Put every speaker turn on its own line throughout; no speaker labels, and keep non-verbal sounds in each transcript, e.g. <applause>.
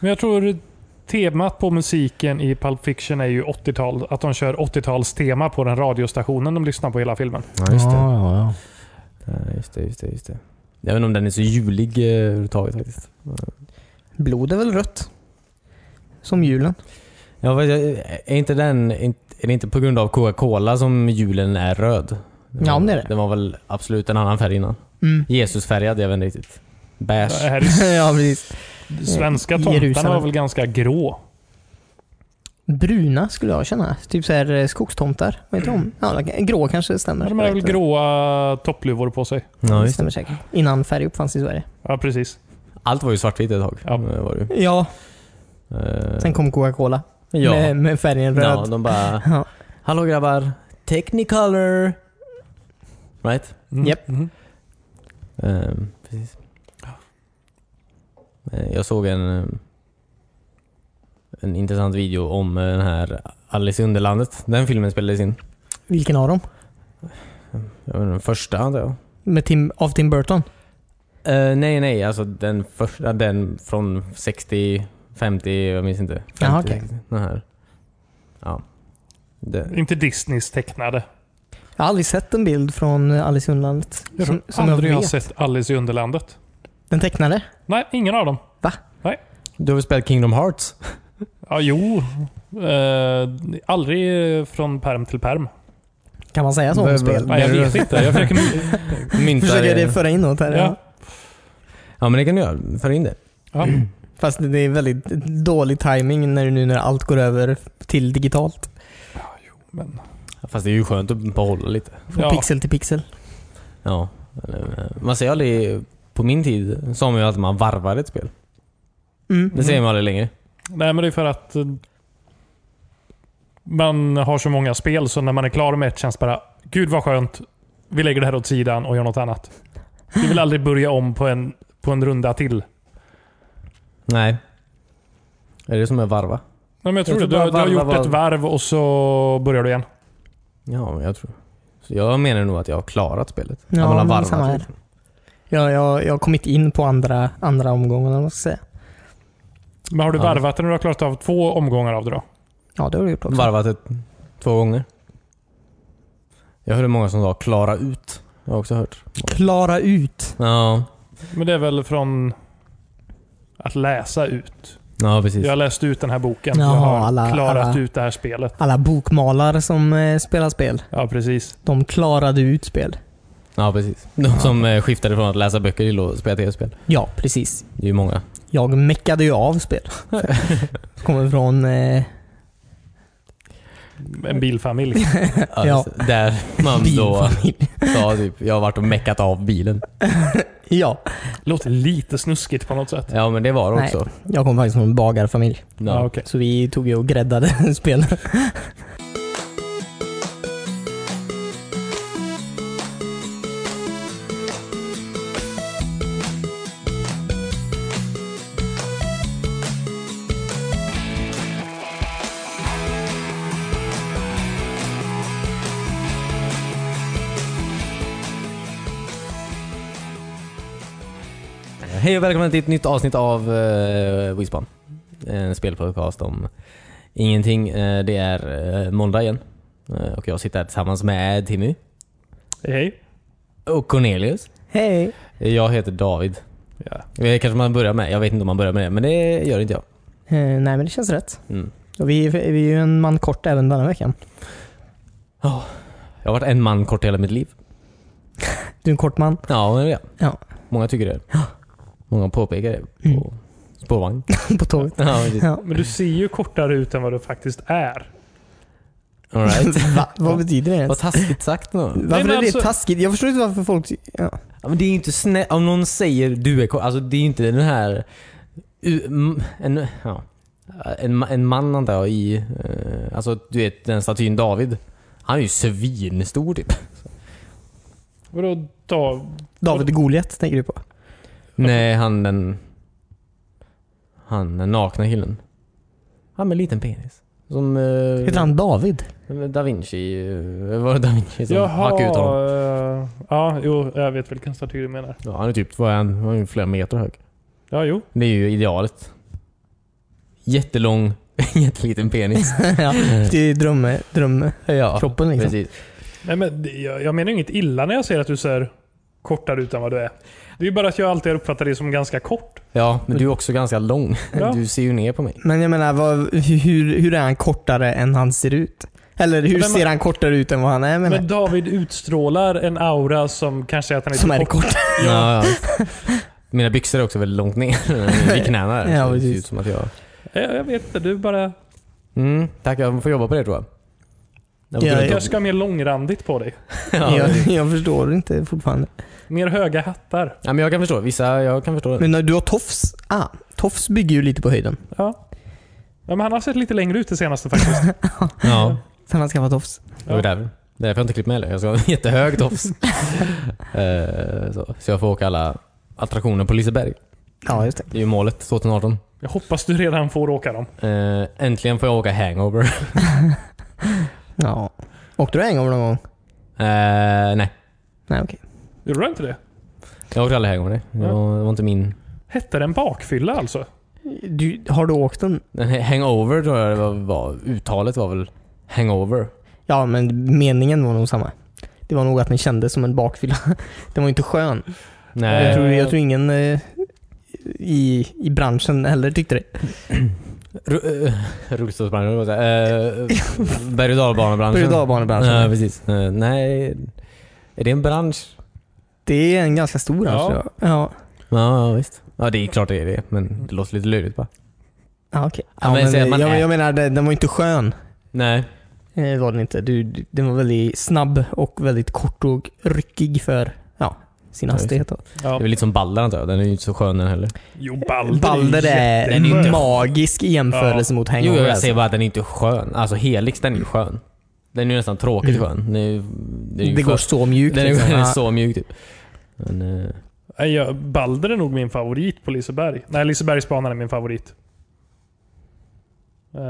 Men jag tror temat på musiken i Pulp Fiction är ju 80-tal. Att de kör 80-talstema på den radiostationen de lyssnar på hela filmen.
Ja, just det.
ja, ja.
Ja, just det, just det, just det. Jag vet inte om den är så julig eh, överhuvudtaget faktiskt.
Blod är väl rött? Som julen.
Ja, fast jag- är inte den... Är det inte på grund av Coca-Cola som julen är röd?
Ja, men det är det.
Den var väl absolut en annan färg innan.
Mm.
Jesusfärgad, jag vet inte riktigt. Beige.
Det här
<laughs>
är
ja, precis.
Svenska tomtarna
Jerusalem.
var väl ganska grå?
Bruna skulle jag känna. Typ så här eh, skogstomtar. Vad heter de? Ja, grå kanske stämmer.
De hade väl gråa toppluvor på sig.
Ja, just det.
stämmer säkert. Innan färg uppfanns i Sverige.
Ja, precis.
Allt var ju svartvitt ett tag.
Ja.
Eh, Var det. ju.
Ja,
Eh,
sen kom Coca-Cola.
ja.
Med, med färgen röd.
Ja, de bara...
<laughs> Ja.
Hallå grabbar. Technicolor! Right?
Mm.
Japp.
Mm.
Eh, precis. Eh, Jag såg en, eh, en intressant video om eh, den här Alice i Underlandet. Den filmen spelades in.
Vilken av dem?
Jag vet inte, Den första antar jag.
Med Tim, av Tim Burton?
Eh, nej, nej. Alltså den första. Den från 60, 50, jag minns inte. 50,
Jaha, okej.
60, Den här. Ja. Det,
Inte Disneys tecknade.
Jag har aldrig sett en bild från Alice i Underlandet.
Jag tror aldrig jag har sett Alice i Underlandet.
Den tecknade?
Nej, ingen av dem.
du har väl spelat Kingdom
<laughs>
Hearts?
Ja, jo. Eh, aldrig eh, från perm till perm.
Kan man säga så om
Bör-
spel?
bör-
Nej, jag
När du-
vet inte. Jag försöker...
<laughs>
Myntar
Försöker jag
det.
det föra in något här?
ja.
Ja, men det kan du göra. För in det.
Ja.
Fast det är väldigt dålig timing när nu när allt går över till digitalt.
Men,
Fast det är ju skönt att behålla lite.
Från
Ja.
pixel till pixel.
Ja. Eller, eh, Man säger aldrig... På min tid sa man ju att man varvar ett spel.
Mm.
Det säger man aldrig längre.
nej, men det är för att eh, man har så många spel så när man är klar med ett känns det bara Gud vad skönt. Vi lägger det här åt sidan och gör något annat. Vi vill aldrig börja om på en, på en runda till.
Nej. Är det som är varva?
Nej, men jag tror,
tror
det.
bara
Du, du har
varva
gjort
var-
ett varv och så börjar du igen.
Ja, men jag tror... Så jag menar nog att jag har klarat spelet.
Ja,
att man har
men
varvat.
samma här.
liksom.
Jag, jag, jag har kommit in på andra, andra omgången, eller vad man ska säga.
Men har du
Ja.
varvat när du har klarat av två omgångar av det då?
Ja, det har du gjort också.
Varvat ett, två gånger. Jag hörde många som sa klara ut. Jag har också hört.
Klara ut.
Ja,
Men det är väl från att läsa ut.
ja precis.
Jag har läst ut den här boken.
Jaha,
jag har
alla-
klarat
alla-
ut det här spelet.
Alla bokmalar som eh, spelar spel,
Ja, precis.
de klarade ut spel.
Ja, precis. De som eh, skiftade från att läsa böcker till att spela tv-spel.
Ja, precis.
Det är ju många.
Jag meckade ju av spel. Kommer från... Eh,
En
<laughs>
bilfamilj.
Ja,
Ja.
just det. Där man då
bilfamilj.
sa typ, jag har varit och meckat av bilen.
Ja,
Låter lite snuskigt på något sätt.
Ja, men det var det
Nej.
också.
jag kommer faktiskt från en bagarfamilj.
Ja.
Ja, okej.
Så vi tog ju och gräddade <laughs> spel.
Hej och välkomna till ett nytt avsnitt av uh, Wispan. En spelpodcast om ingenting. Eh, det är eh, måndag igen. Eh, och jag sitter här tillsammans med Timmy
Hej, Hej.
och Cornelius.
Hej!
Jag heter David.
Ja.
Det kanske man börjar med. Jag vet inte om man börjar med det, men det gör inte jag.
Eh, nej, men det känns rätt.
Mm.
Och vi, vi är ju en man kort även denna veckan.
Jag har varit en man kort hela mitt liv.
Du är en kort man. <laughs>
Ja, men det är jag.
Ja.
Många tycker det. Många påpekar det på
Mm.
spårvagn. <laughs>
På tåget.
ja, precis.
Ja.
Men du ser ju kortare ut än vad du faktiskt är.
All right.
<laughs> Va? Vad betyder det
Vad
ens?
taskigt sagt nu.
Varför
men
är det
alltså-
taskigt? Jag förstår inte varför folk... Ja.
Ja, men det är ju inte snällt. Om någon säger du är kort, alltså det är ju inte den här... u- m- En, ja, en, ma- en man antar jag i... eh, Alltså du vet den statyn David. Han är ju svinstor
<laughs>
typ.
Vadå då?
David Goliat tänker du på?
Nej, han den... Han den nakna killen. Han med liten penis. Som... eh,
Heter han David?
Da Vinci... eh, Var det Da Vinci som hackade ut honom?
Jaha. eh, Ja, jo, jag vet vilken staty du menar.
Ja, han är typ... Vad är han? Han är ju flera meter hög.
Ja, jo.
Det är ju idealet. jättelång, <laughs> jätteliten penis.
<laughs> ja, det är drömme, drömme.
ja,
Kroppen liksom.
precis.
Nej, men det- jag, jag menar inget illa när jag säger att du ser kortare ut än vad du är. Det är ju bara att jag alltid har uppfattat dig som ganska kort.
<laughs>
Ja, men du är också ganska lång.
Ja.
Du ser ju ner på mig.
Men jag menar, vad, hur, hur är han kortare än han ser ut? Eller hur
Men-
ser han kortare ut än vad han är menar
Men David utstrålar en aura som kanske är att han
jag?
är
Som
lite
är kort.
Ja. ja. <laughs> Mina byxor är också väldigt långt ner vid knäna. där,
Ja,
så det ser
precis.
ut som att jag...
Jag, jag vet inte, du bara...
Mm, tack, jag får jobba på det tror jag. jag.
Ja,
får
Jag ska ha mer långrandigt på dig.
<laughs> ja.
jag, jag förstår inte fortfarande.
Mer höga hattar.
ja, men jag kan förstå. Vissa, jag kan förstå det.
Men när du har tofs? Ah, tofs bygger ju lite på höjden.
Ja. ja men han har sett lite längre ut det senaste
<laughs>
faktiskt.
Ja,
Sen han skaffat tofs.
det var därför. Det är därför jag inte klippt mig heller. Jag ska ha <laughs> en jättehög tofs. Eh, så. så jag får åka alla attraktioner på Liseberg.
Ja, just det.
Det är ju målet 2018.
Jag hoppas du redan får åka dem.
Eh, äntligen får jag åka hangover. <laughs>
Ja. Åkte du hangover någon gång?
Eh, nej,
Nej, okej.
Gjorde du inte det?
jag åkte aldrig hangover. nej. Det
Ja.
var, det var inte min...
Hette den bakfylla alltså?
Du, har du åkt den?
Den här Hangover tror jag det var, var. Uttalet var väl hangover.
Ja, men meningen var nog samma. Det var nog att den kändes som en bakfylla. <laughs> Den var ju inte skön. Jag
Nej.
tror, jag tror ingen eh, i, i branschen heller tyckte det.
Ru- eh, Rullstolsbranschen, höll jag på att säga. Eh, Berg och dalbanebranschen.
Berg- och dalbanebranschen.
Ja, precis. Eh, nej. Är det en bransch?
Det är en ganska stor bransch.
Ja.
Ja. Ja.
Ja, ja, visst. Ja, det är klart det är det. Men det låter lite löjligt bara.
Ja, okej.
Ja,
Ja,
men
men
säger man
jag,
är-
jag menar, den, den var ju inte skön.
Nej.
Eh, var den inte. Du, du- den var väldigt snabb och väldigt kort och ryckig för ja, sin
Ja, just det.
hastighet. då.
Ja.
Det är väl lite som Balder antar jag. Den är ju inte så skön den heller.
Jo, Balder,
Balder är,
jätteskön.
magisk i jämförelse mot
Jo,
Hangover.
jag
alltså.
säger bara att den är inte skön. Alltså Helix, den är ju skön. Den är ju nästan tråkigt
Mm.
skön. Den är, ju- den är ju
det går
för-
så mjukt.
den är,
liksom.
den är
Ja.
så mjuk typ. Men, eh,
Nej, jag- Balder är nog min favorit på Liseberg. Nej, Lisebergsbanan är min favorit. Eh,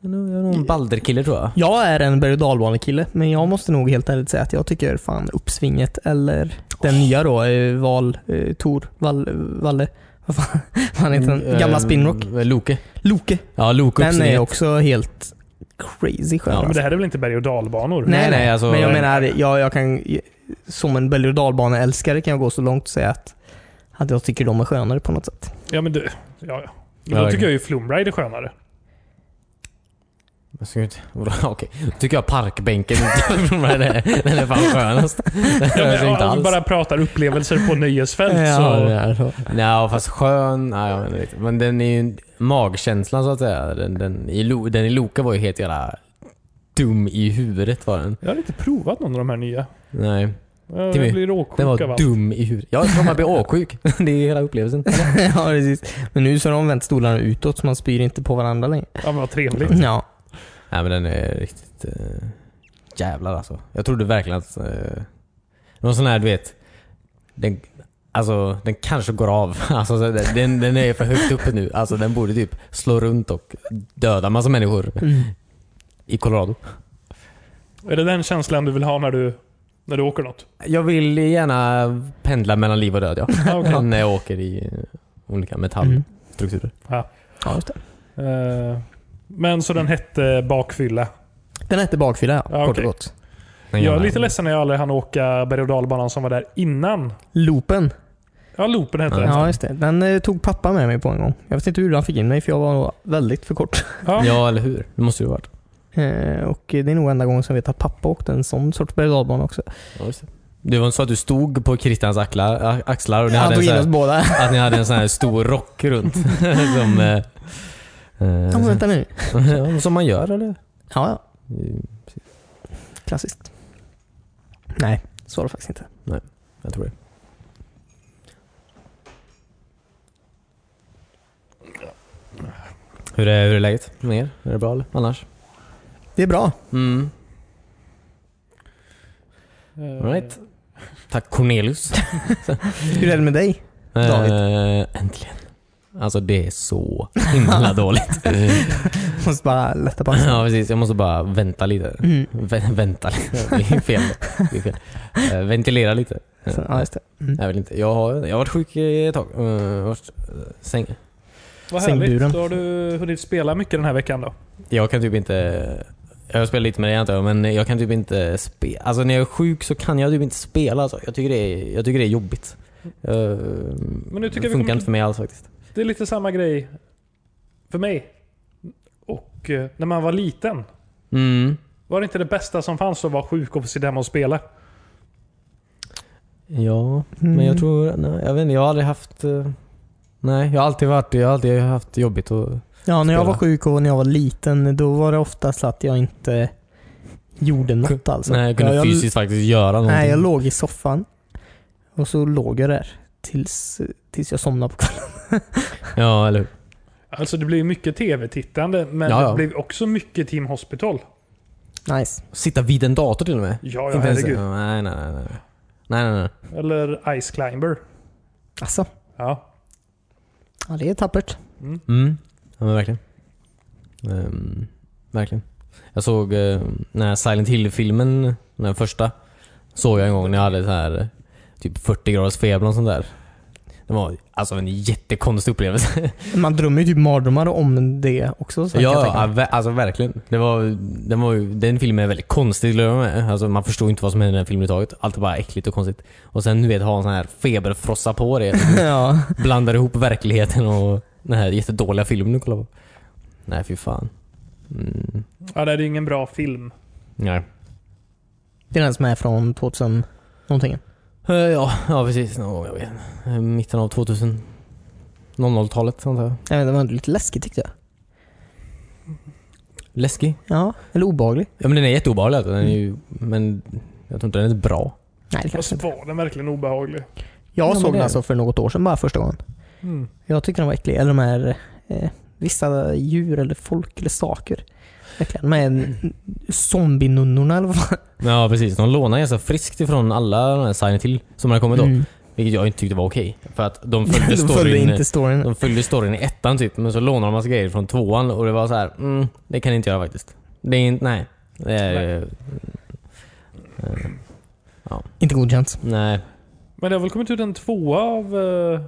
jag är nog en Balder-kille tror jag.
Jag är en berg och dalbanekille, men jag måste nog helt ärligt säga att jag tycker fan uppsvinget eller den nya då, eh, Val, eh, Tor, Val, Valle, <laughs> vad fan, vad fan heter den? Gamla
Eh,
Spinrock.
Loke.
Loke.
Ja, Loke
Den är
uppsvinget.
också helt crazy skön.
Ja,
men
alltså.
det här är väl inte berg och dalbanor?
Nej, nej, alltså-
men jag menar, jag, jag kan, som en berg och dalbaneälskare kan jag gå så långt och säga att, att jag tycker de är skönare på något sätt. <laughs>
Ja, men du, ja, ja.
Ja,
Men då tycker
okej.
jag ju Flumride är
<laughs>
skönare.
Jag ska inte- vadå? <laughs> Okej, tycker jag parkbänken <laughs> den är den är fan skönast. Den
Ja,
är
men,
inte
om vi
alls.
bara pratar
<laughs>
upplevelser på nöjesfält
Ja, det
så...
är så. Nja, fast skön... Nej, jag vet inte riktigt. Men den är ju magkänslan så att säga. Den, den, i, Lo- den i Loka var ju helt jävla dum i huvudet var den.
Jag har inte provat någon av de här nya.
Nej,
Jag
Timmy,
blir
den
åksjuk av
var
allt.
dum i huvudet. Jag tror man blir <laughs> åksjuk. Det är hela upplevelsen.
ja, precis. Men nu så har de vänt stolarna utåt så man spyr inte på varandra längre.
Ja, men vad trevligt.
Mm.
Ja.
Nej men den är riktigt... Eh, jävlar alltså. Jag trodde verkligen att... Eh, det var sån här du vet... Den, alltså den kanske går av. <laughs> Alltså, så den- den, den är för högt uppe nu. Alltså den borde typ slå runt och döda massa människor
Mm.
i Colorado.
Är det den känslan du vill ha när du, när du åker
<laughs>
något?
Jag vill gärna pendla mellan liv och död ja.
Ja, okej.
När jag åker i eh, olika
Mm.
metallstrukturer.
Ja, just det.
Eh, men så den hette bakfylla.
Den hette bakfylla ja,
Ja,
kort
okej.
och gott.
Den
Mm. Jag är
gamla-
lite ledsen när jag aldrig hann åka berg och dalbanan som var där innan.
Loopen.
Ja, loopen hette den.
Ja, just det. Den eh, tog pappa med mig på en gång. Jag vet inte hur han fick in mig för jag var nog väldigt för kort. <laughs>
Ja.
Ja eller hur? Det måste ju ha varit.
Eh, och det är nog enda gången som jag vet att pappa åkte en sån sorts berg och dalbana också.
Ja, just det. Det var så att du stod på Kristians axlar, axlar och ni
Han
hade en
tog
så
in
här,
oss båda. <laughs>
Att ni hade en sån här stor rock runt. <laughs> som, eh, eh,
Ja, men vänta nu.
<laughs> ja, som man gör eller?
Ja, ja.
Mm,
Klassiskt. Nej, så var det faktiskt inte.
Jag tror det. Hur är, hur är läget med er? Är det bra eller? annars?
Det är bra.
Mm.
Eh,
All right. Tack Cornelius.
Hur är det med dig? <laughs> David.
Eh, äntligen. Alltså det är så <laughs> himla dåligt.
Måste bara lätta på axlarna.
ja precis, jag måste bara vänta lite.
Mm.
Vä- vänta lite. Det är fel. Det är fel. Eh, ventilera lite.
Så, ja, just det. Mm.
Jag vill inte. Jag har, jag har varit sjuk i ett tag. Eh, varit, eh, säng.
Vad
Sängburen.
härligt. Då har du hunnit spela mycket den här veckan då.
Jag kan typ inte... Jag har spelat lite med dig antar jag, men jag kan typ inte spela. Alltså när jag är sjuk så kan jag typ inte spela. Alltså. Jag, tycker det är, jag tycker det är jobbigt. Eh,
Men nu tycker jag
det
vi
funkar
kommer
inte för mig alls faktiskt.
Det är lite samma grej för mig. Och eh, när man var liten.
Mm.
Var det inte det bästa som fanns att vara sjuk och sitta hemma och spela?
Ja, men
Mm.
jag tror... Nej, jag vet inte, jag har aldrig haft... eh, Nej, jag har alltid varit... Jag har alltid haft jobbigt och...
Ja, när jag
spela.
var sjuk och när jag var liten, då var det oftast att jag inte gjorde något alltså.
nej, jag kunde
Ja, jag,
fysiskt faktiskt göra någonting.
Nej, jag låg i soffan. Och så låg jag där tills, tills jag somnade på kvällen.
Ja, eller hur?
Alltså det blev mycket tv-tittande men
Ja, ja.
det blev också mycket Team Hospital.
Nice.
Sitta vid en dator till och med.
Ja, ja
Inte ens-
herregud.
Nej, nej, nej. nej. Nej, nej, nej.
Eller Ice Climber.
Alltså,
Ja.
ja, det är tappert.
Mm. Ja men verkligen. Ehm, verkligen. Jag såg eh, den här Silent Hill-filmen, den första, såg jag en gång när jag hade så här eh, typ 40 graders feber och sånt där. Det var alltså en jättekonstig upplevelse.
Man drömmer ju typ mardrömmar om det också. Så
Ja,
kan jag tänka
ja
mig.
ver- alltså verkligen. Det var, den, var ju, den filmen är väldigt konstig till att börja med. Alltså, man förstod inte vad som hände i den filmen överhuvudtaget. Allt var bara äckligt och konstigt. Och sen du vet, ha en sån här feberfrossa på det.
ja.
blandar ihop verkligheten och den här jättedåliga filmen du kollar på. Nej, fy fan. Mm.
ja, det är ingen bra film.
Nej.
Det är den som är från 2000 någonting.
Eh, Ja, ja precis. Någon gång, jag vet. Eh, Mitten av 2000. 00-talet antar jag.
Jag vet, det var lite läskigt tyckte jag.
Läskig.
Ja, eller obehaglig.
Ja men den är jätteobehaglig. alltså. Den är ju, men jag tror inte den är bra.
Nej, det kanske
Fast
inte.
var den verkligen obehaglig?
Jag
Ja, men
såg
det-
den alltså för något år sedan bara första gången.
Mm.
Jag tyckte den var äcklig. Eller de här eh, vissa djur eller folk eller saker. Verkligen. De här
Mm.
zombie-nunnorna eller vad fan.
Ja precis. De lånar ganska friskt ifrån alla de här Silent Hill som har kommit då.
Mm.
Vilket jag inte tyckte var okej. För att de följde
<laughs> De
storyn.
följde inte storyn.
De följde storyn i ettan typ, men så lånade de massa grejer från tvåan och det var så här, mm, det kan ni inte göra faktiskt. Det är inte, nej. Det är, eh,
Inte godkänt.
nej.
Men det har väl kommit ut en tvåa av uh,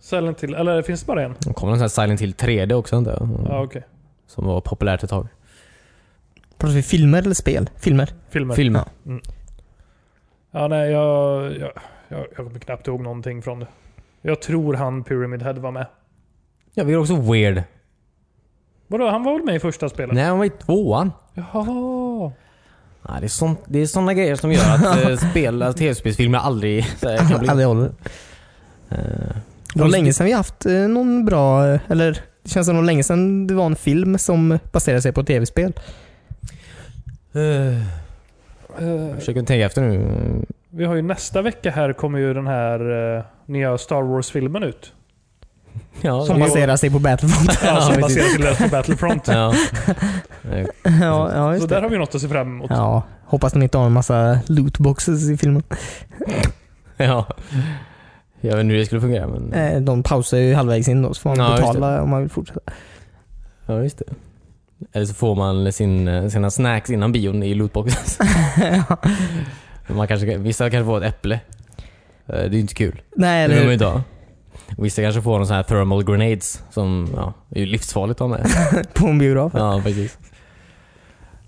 Silent Hill? Eller finns det bara en?
Det kom någon sån här Silent Hill 3D också antar jag.
Ja, okej.
Som var populärt ett tag.
Pratar vi filmer eller spel? Filmer.
Filmer.
Filmer.
Ja.
Ja, nej, jag, jag, jag, jag kommer knappt ihåg någonting från det. Jag tror han Pyramid Head var med.
Ja, vi är också weird.
Vadå, han var väl med i första spelet?
Nej, han var i tvåan.
Jaha.
Nej, det, är sånt, det är såna grejer som gör att <laughs> eh, spel, alltså, tv-spelsfilmer aldrig så här,
<laughs>
kan bli...
Aldrig håller.
Eh,
Det var länge sedan vi haft eh, någon bra, eh, eller det känns som det var länge sedan det var en film som baserade sig på ett tv-spel.
eh,
Eh,
jag försöker tänka efter nu.
vi har ju nästa vecka här kommer ju den här eh, nya Star Wars-filmen ut.
Ja,
Som
det-
baserar sig på Battlefront.
Ja,
<laughs> Ja,
som
precis.
baserar sig löst på Battlefront.
<laughs> Ja. Eh,
ja, ja,
Så
just
där
det.
har vi något att se fram emot.
Ja, hoppas de inte har en massa lootboxes i filmen.
ja. Jag vet inte hur det skulle fungera men...
Eh, De pausar ju halvvägs in då, så får man
Ja, just
betala om man vill fortsätta.
Ja, just det. Eller så får man sin, sina snacks innan bion i lootboxen.
<laughs>
man kanske, kan- vissa kanske får ett äpple. Eh, Det är ju inte kul.
Nej,
Det vill man ju
eller
inte ha. Vissa kanske får någon sån här thermal grenades som ja, är ju livsfarligt om
<laughs>
det.
på en biograf.
Ja, precis.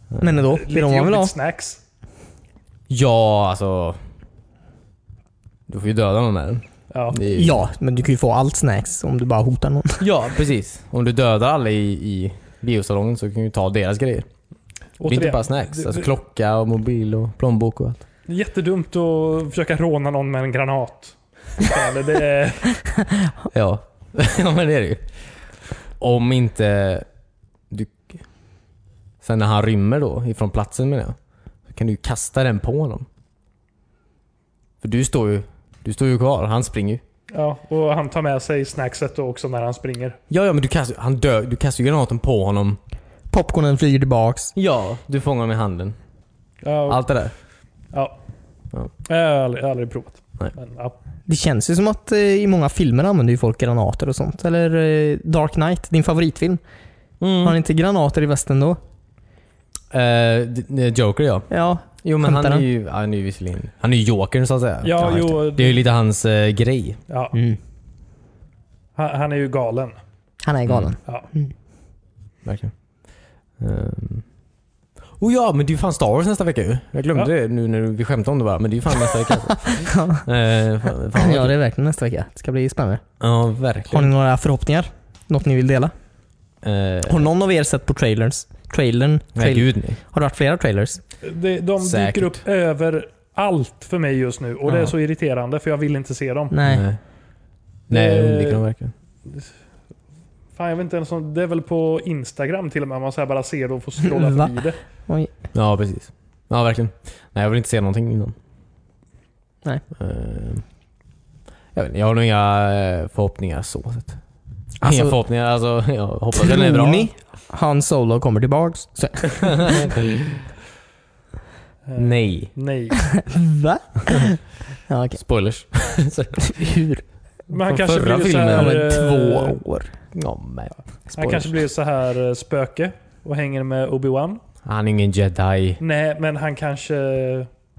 Men ändå, det är de man vill ha.
jobbigt snacks.
Ja, alltså. Du får ju döda någon med den.
Ja.
Det är ju-
Ja, men du kan ju få allt snacks om du bara hotar någon.
ja, precis. Om du dödar alla i, i biosalongen så kan du ta deras grejer. Det är inte
Återigen,
bara snacks.
det-
Alltså
det-
klocka och mobil och plånbok och allt.
Jättedumt att försöka råna någon med en granat. Eller det är,
Ja, <laughs> ja men det är det ju. Om inte du... Sen när han rymmer då, ifrån platsen menar jag. Så kan du ju kasta den på honom. För du står ju, du står ju kvar, han springer ju.
ja, och han tar med sig snackset då också när han springer.
Ja, ja men du kastar, han dör, du kastar ju granaten på honom.
Popcornen flyger tillbaks.
Ja. Du fångar honom i handen.
Ja, och-
Allt det där.
Ja.
Ja.
Jag har aldrig, jag har aldrig provat.
Nej.
Men, ja.
Det känns ju som att eh, i många filmer använder ju folk granater och sånt. Eller eh, Dark Knight, din favoritfilm.
Mm.
Har han inte granater i västen då?
Eh, d- d- Joker ja.
Ja,
Jo men han
Skämtar
är
han?
ju, ja, han är ju visserligen, han är ju jokern så att säga.
Ja, jo,
Det är ju lite hans eh, grej.
ja.
Mm.
Han, han är ju galen.
Han är galen.
Ja.
Verkligen. Ehm. Oh ja, men det är ju fan Star Wars nästa vecka ju. Jag glömde det nu när vi skämtade om det bara, men det är ju fan nästa vecka.
<laughs>
alltså. Ehm, fan, fan
ja,
vad-
det är verkligen nästa vecka. Det ska bli spännande.
ja,
Har
verkligen.
ni några förhoppningar? Något ni vill dela?
Ehm,
Har någon av er sett på trailers? Trailern?
nej,
Trail-
gud Mm. nej.
Har det varit flera trailers?
De, de dyker
Säkert.
upp över allt för mig just nu och det är
Ja.
så irriterande för jag vill inte se dem.
Nej. Eh.
Nej, nej jag undviker dem verkligen.
Fan, jag vet inte ens om, det är väl på Instagram till och med. Man så här bara ser det och får scrolla
Va?
förbi det.
Oj.
Ja, precis. Ja, verkligen. Nej, jag vill inte se någonting innan.
Nej.
Ehm, jag, vet, inte, jag har nog inga eh, förhoppningar så sett.
Alltså-
inga förhoppningar, alltså jag hoppas den är
Tror
bra.
ni Han Solo kommer tillbaks? Så,
Eh,
Nej. <laughs>
Nej.
<laughs> va? ja, okej.
Spoilers. <laughs>
Hur?
Men han
Från
kanske
förra
blir så
filmen.
här,
Ja,
Om
eh,
men
två år?
Ja, men.
Han kanske blir så här eh, spöke och hänger med Obi-Wan.
Han är ingen jedi.
Nej, men han kanske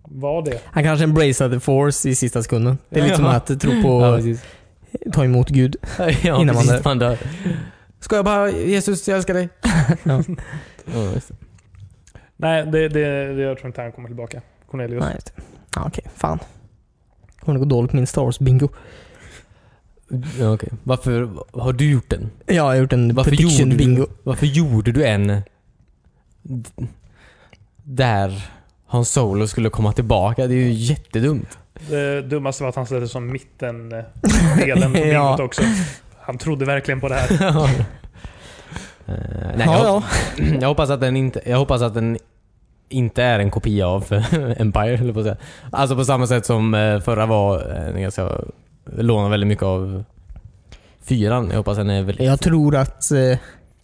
var det.
Han kanske embraceade the force i sista sekunden. Det är lite som
Ja.
att tro
<laughs>
på,
ja, precis.
ta emot Gud.
Ja,
Innan man
precis,
dör.
man dör. Ska jag bara, Jesus jag älskar dig.
<laughs> Ja.
Ja, just det.
Nej, det, det, det, jag tror inte han kommer tillbaka. Cornelius.
Nej, just det. Ja, okej. Fan. Kommer det gå dåligt med min Star Wars-bingo?
Ja, okej. Varför har du gjort den?
Ja, jag har gjort en
Varför gjorde,
prediction-bingo.
du, varför gjorde du en d- där Han Solo skulle komma tillbaka? Det är ju
<laughs>
jättedumt.
Det dummaste var att han ställde sig som mitten eh, delen på
Ja.
ja. också. Han trodde verkligen på det här.
Eh, nej, jag,
ja, ja.
<clears throat> jag, hoppas att den inte, jag hoppas att den inte är en kopia av <laughs> Empire, höll jag på att säga. Alltså på samma sätt som eh, förra var en ganska... Lånade väldigt mycket av fyran. Jag hoppas den är väldigt...
Jag tror att... Eh,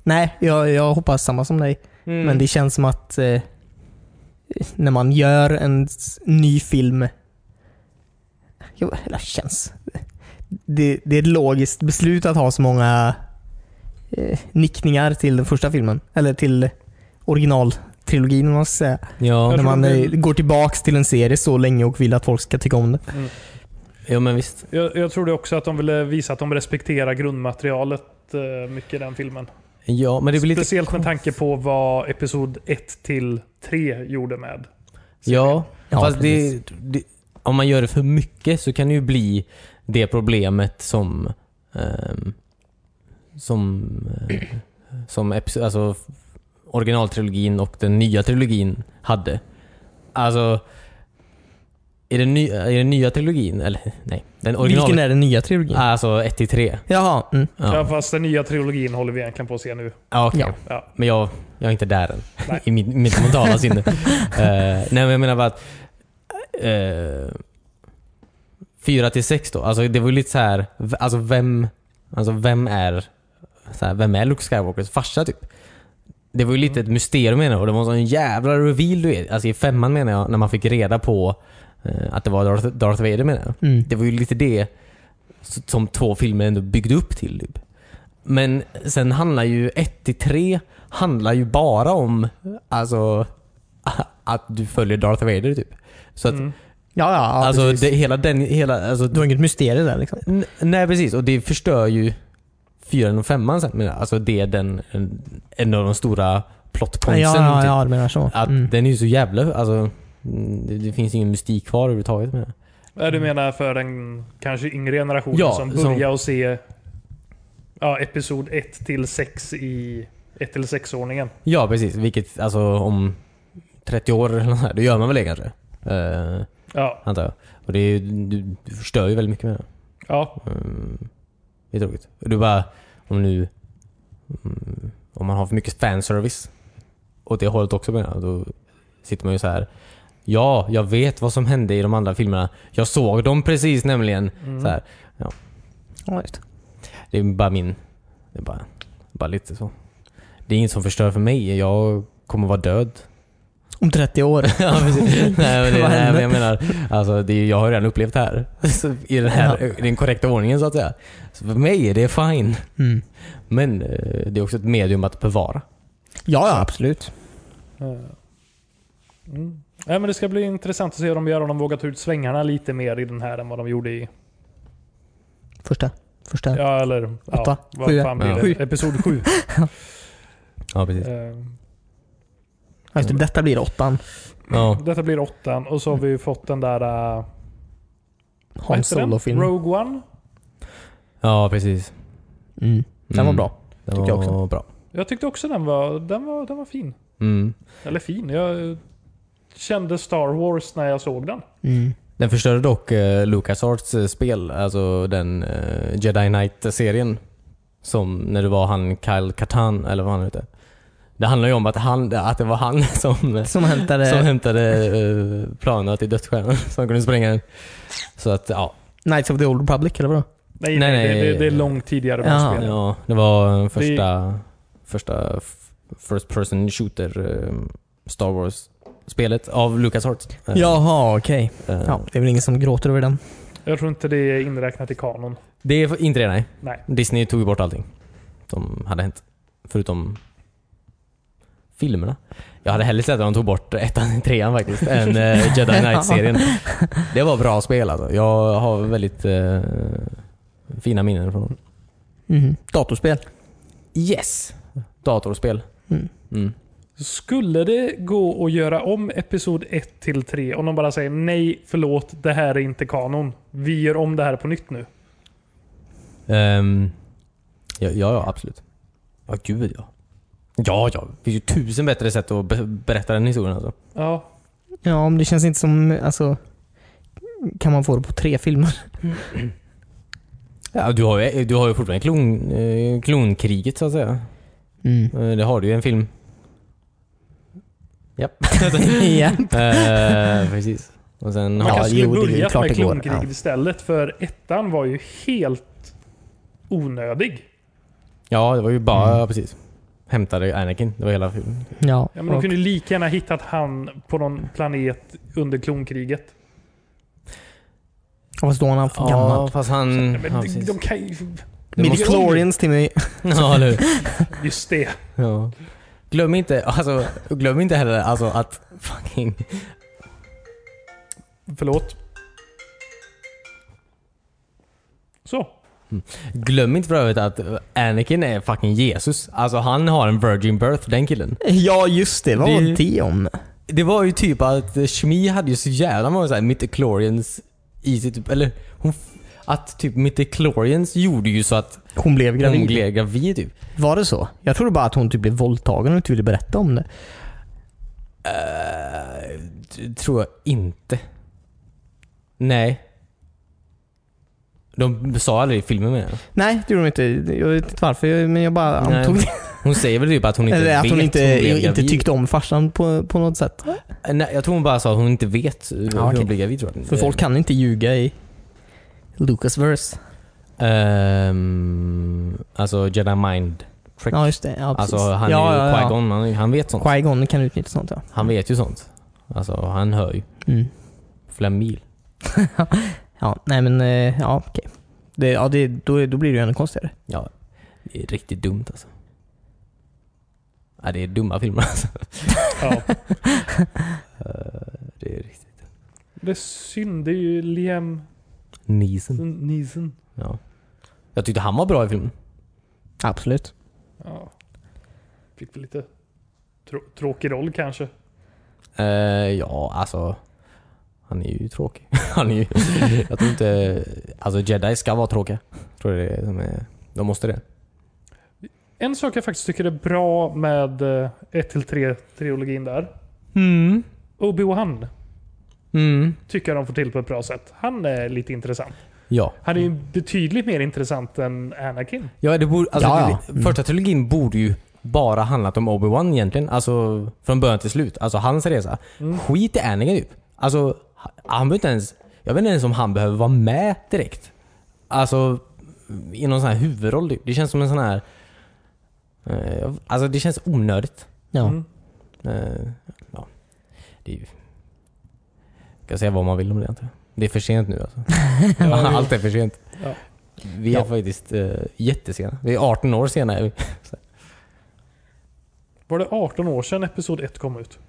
nej, jag, jag hoppas samma som dig.
Mm.
Men det känns som att eh, när man gör en s- ny film... Jo, eller känns... Det, det är ett logiskt beslut att ha så många eh, nickningar till den första filmen. Eller till originaltrilogin om man ska säga.
Ja,
Jag
när
tror
man
att det-
eh, går tillbaks till en serie så länge och vill att folk ska tycka om det.
ja, men visst.
Jag, jag trodde också att de ville visa att de respekterar grundmaterialet eh, mycket i den filmen.
Ja, men det blir lite...
Speciellt med tanke på vad Episod 1 till 3 gjorde med.
Ja,
Ja,
fast det,
precis.
det, om man gör det för mycket så kan det ju bli det problemet som ehm, som eh, som episo- alltså f- originaltrilogin och den nya trilogin hade. Alltså i den, ny, i den nya trilogin, eller nej, den
Vilken
original...
är den nya trilogin?
Alltså 1 till 3.
Jaha. Mm.
Ja.
Ja,
fast den nya trilogin håller vi egentligen på att se nu.
ja, okej.
Ja.
Ja.
Men jag, jag är inte där än.
Nej.
<laughs> I mitt, mitt mentala sinne.
<laughs>
Eh, nej men jag menar bara att... Uh, 4 till 6 då. Alltså det var ju lite så här, v- alltså vem, alltså vem är så här, vem är Luke Skywalkers farsa typ? Det var ju lite ett
Mm.
mysterium menar jag och det var en sån jävla reveal du vet. Alltså i femman menar jag, när man fick reda på eh, att det var Darth, Darth Vader menar jag.
Mm.
Det var ju lite det s- som två filmer ändå byggde upp till. Typ. Men sen handlar ju 1 till 3 handlar ju bara om alltså <laughs> att du följer Darth Vader typ. Så att
Mm.
Ja, ja. ja
alltså
precis.
det, hela den, hela, alltså,
Du har inget mysterium där liksom.
N- Nej precis, och det förstör ju fyran och femman sen. Men alltså det är den, en, en av de stora
Ja,
plotpointsen.
ja,
typ.
ja, du menar så.
Att
Mm.
Den är ju så jävla... Alltså, mm, det, det finns ingen mystik kvar överhuvudtaget med det.
Ja, Du menar för den kanske yngre generationen
Ja,
som
som-
börjar att se ja, Episod 1 till 6 i 1 till 6-ordningen.
Ja precis, vilket alltså om 30 år eller nåt här, då gör man väl det kanske? Eh,
Ja,
antar jag. Och det är ju, du, du förstör ju väldigt mycket med det.
ja.
Mm, det är tråkigt. Och Du bara, om nu... Mm, om man har för mycket fanservice åt det hållet också menar jag, då sitter man ju så här. Ja, jag vet vad som hände i de andra filmerna. Jag såg dem precis nämligen. Så här,
Ja, just.
det är bara min... Det är bara, bara lite så. Det är inget som förstör för mig. Jag kommer vara död.
Om 30 år.
Ja,
<laughs>
precis. nej, men det,
Vad
nej,
hände?
men jag menar, alltså, det, är- jag har redan upplevt det här. <laughs> Så, I den, här,
Ja.
i den korrekta ordningen så att säga. Så för mig är det fine.
Mm.
Men eh, det är också ett medium att bevara.
Ja, ja, absolut.
Eh. Mm. Nej, men det ska bli intressant att se hur de gör om de vågar ta ut svängarna lite mer i den här än vad de gjorde i
Första. Första.
Ja, eller...
Åtta.
Ja, vad
Sju.
fan blir det?
Sju.
Episod sju.
Ja, precis.
Eh,
Ja, just det, Alltså, detta blir åttan.
Ja.
Detta blir åttan och så har vi ju fått den där... eh, vad
Han
heter den?
Solo-film.
Rogue One.
ja, precis.
Mm. Den var
Mm.
bra.
Den
Tycker jag
var
också.
bra.
Jag tyckte också den var, den var, den var fin.
Mm.
Eller fin. Jag eh, kände Star Wars när jag såg den.
Mm.
Den förstörde dock eh, LucasArts eh, spel, alltså den eh, Jedi Knight-serien. Som när det var han Kyle Katan, eller vad han hette. Det handlar ju om att, han, att det var han <laughs> som, eh,
Som hämtade...
som hämtade eh, planerna till dödsstjärnan <laughs> som kunde spränga den. Så att ja,
Knights of the Old Republic, eller vadå?
Nej,
Nej,
nej, Det,
nej.
det, det är långt tidigare.
Ja.
Ja, ja.
ja det var eh, första, första f- First Person Shooter eh, Star Wars-spelet av LucasArts. Eh,
Jaha, okej.
eh,
Ja, det är väl ingen som gråter över den.
Jag tror inte det är inräknat i kanon.
Det är inte det, nej.
Nej.
Disney tog ju bort allting som hade hänt. Förutom filmerna. Jag hade hellre sett att de tog bort ettan <laughs> och trean faktiskt, än eh, Jedi Knight-serien. Det var bra spel alltså. Jag har väldigt eh, fina minnen från dem.
Mhm. Datorspel.
Yes! Datorspel.
Mm.
Mm.
Skulle det gå att göra om Episod 1 till 3 om de bara säger nej, förlåt, det här är inte kanon. Vi gör om det här på nytt nu.
Ehm, ja, ja, ja, absolut. Ja, gud ja. Ja, ja. Det finns ju tusen bättre sätt att be- berätta den historien alltså.
Ja,
Ja, men det känns inte som... Alltså, kan man få det på tre filmer?
Ja, du, har ju, du har ju fortfarande klon, eh, klonkriget så att säga.
Mm.
Eh, Det har du ju en film.
<laughs>
Japp.
<laughs> ja.
Eh, precis. Och sen
Man
Ja,
har...
kanske skulle
jo, det är ju
börjat
klart
med
det går.
klonkriget
Ja.
istället, för ettan var ju helt onödig.
Ja, det var ju bara...
Mm.
ja, Precis. Hämtade Anakin. Det var hela filmen.
Ja,
Ja, men de
och-
kunde ju lika gärna hittat han på någon planet under klonkriget.
Fast då är han för gammal.
Ja, fast han...
Ja, men
ja,
de,
precis.
de kan ju...
det måste-
Midichlorians till mig. <laughs>
Ja, eller hur?
Just det.
Ja. Glöm inte, alltså, glöm inte heller alltså, att fucking...
Förlåt. Så.
Glöm inte för övrigt att Anakin är fucking Jesus. Alltså han har en virgin birth, den killen.
Ja, just det. Vad
Det-
var det om?
Det var ju typ att Shmi hade ju så jävla många såhär mitochlorians i sig typ, eller hon... f- Att typ mitochlorians gjorde ju så att
Hon blev gravid.
hon blev gravid typ.
Var det så? Jag trodde bara att hon typ blev våldtagen och inte ville berätta om det.
Eh, t- tror jag inte. Nej. De sa aldrig i filmen menar jag.
Nej, det gjorde hon inte. Jag vet inte varför, men jag bara
Nej,
antog det.
Hon säger väl typ att hon inte
<laughs> Eller
vet
att hon inte,
blev
inte
gravid.
tyckte om farsan på, på något sätt.
Nej, jag tror hon bara sa att hon inte vet hur
Ja, Ah, okej.
hon blev gravid tror jag.
För folk kan inte ljuga i Lucasverse.
Ehm, alltså Jedi Mind Trick.
Ja, just det. Ja, precis.
alltså han
ja,
är ju
ja, ja.
Qui-Gon, han, han vet sånt.
Qui-Gon kan utnyttja sånt ja.
Han vet ju sånt. Alltså han hör ju
Mm.
flera mil.
Ja, nej men eh, ja, okej. Det, ja, det, då, då blir det ju ännu konstigare.
Ja, det är riktigt dumt alltså. Ja, det är dumma filmer
<laughs>
alltså.
Ja.
Det är riktigt...
Det är synd. Det är ju Liam
Nisen.
Neeson.
Ja. Jag tyckte han var bra i filmen.
Absolut.
Ja. Fick väl lite trå- tråkig roll kanske.
Eh, ja, alltså. Han är ju tråkig. <laughs> Han är ju... <laughs> Jag tror inte... Alltså Jedi ska vara tråkiga. Tror det är det som är... De måste det.
En sak jag faktiskt tycker är bra med eh, 1-3-trilogin där.
Mm.
Obi-Wan
Mm.
tycker jag de får till på ett bra sätt. Han är lite intressant.
Ja.
Han är ju betydligt mer intressant än Anakin.
Ja, det borde, alltså,
Ja, ja.
det- Första trilogin borde ju bara handlat om Obi-Wan egentligen. Alltså från början till slut. Alltså hans resa. Skit i Anakin typ. Alltså han- han behöver inte ens... Jag vet inte ens om han behöver vara med direkt. Alltså i någon sån här huvudroll typ. Det känns som en sån här... Eh, alltså det känns onödigt.
Ja.
Mm.
Eh, ja. Det är ju... Jag kan säga vad man vill om det antar jag. Det är för sent
<laughs>
nu alltså. Allt är för sent.
Ja.
Vi är
Ja.
faktiskt eh, jättesena. Vi är 18 år sena. är vi.
Var det 18 år sedan Episod 1 kom ut?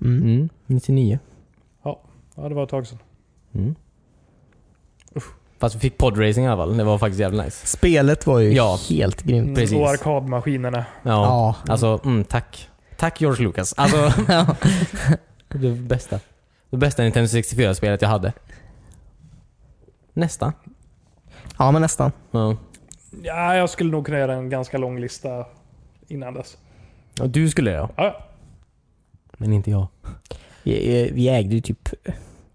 Mm.
Mm, 99.
Mm. Ja, det var ett tag sedan.
Mm. Fast vi fick podracing i alla fall. Det var faktiskt jävligt nice.
Spelet var ju
Ja.
helt grymt.
Precis.
Mm. Och arkadmaskinerna.
Ja.
Ja.
Alltså, mm, tack. Tack George Lucas.
<laughs>
Alltså,
Ja. <laughs>
det bästa. Det bästa Nintendo 64-spelet jag hade. Nästa.
ja, men nästan.
Ja.
Ja, jag skulle nog kunna göra en ganska lång lista innan dess.
Ja, du skulle ja.
Ja, ja.
Men inte jag.
Vi, eh, vi ägde ju typ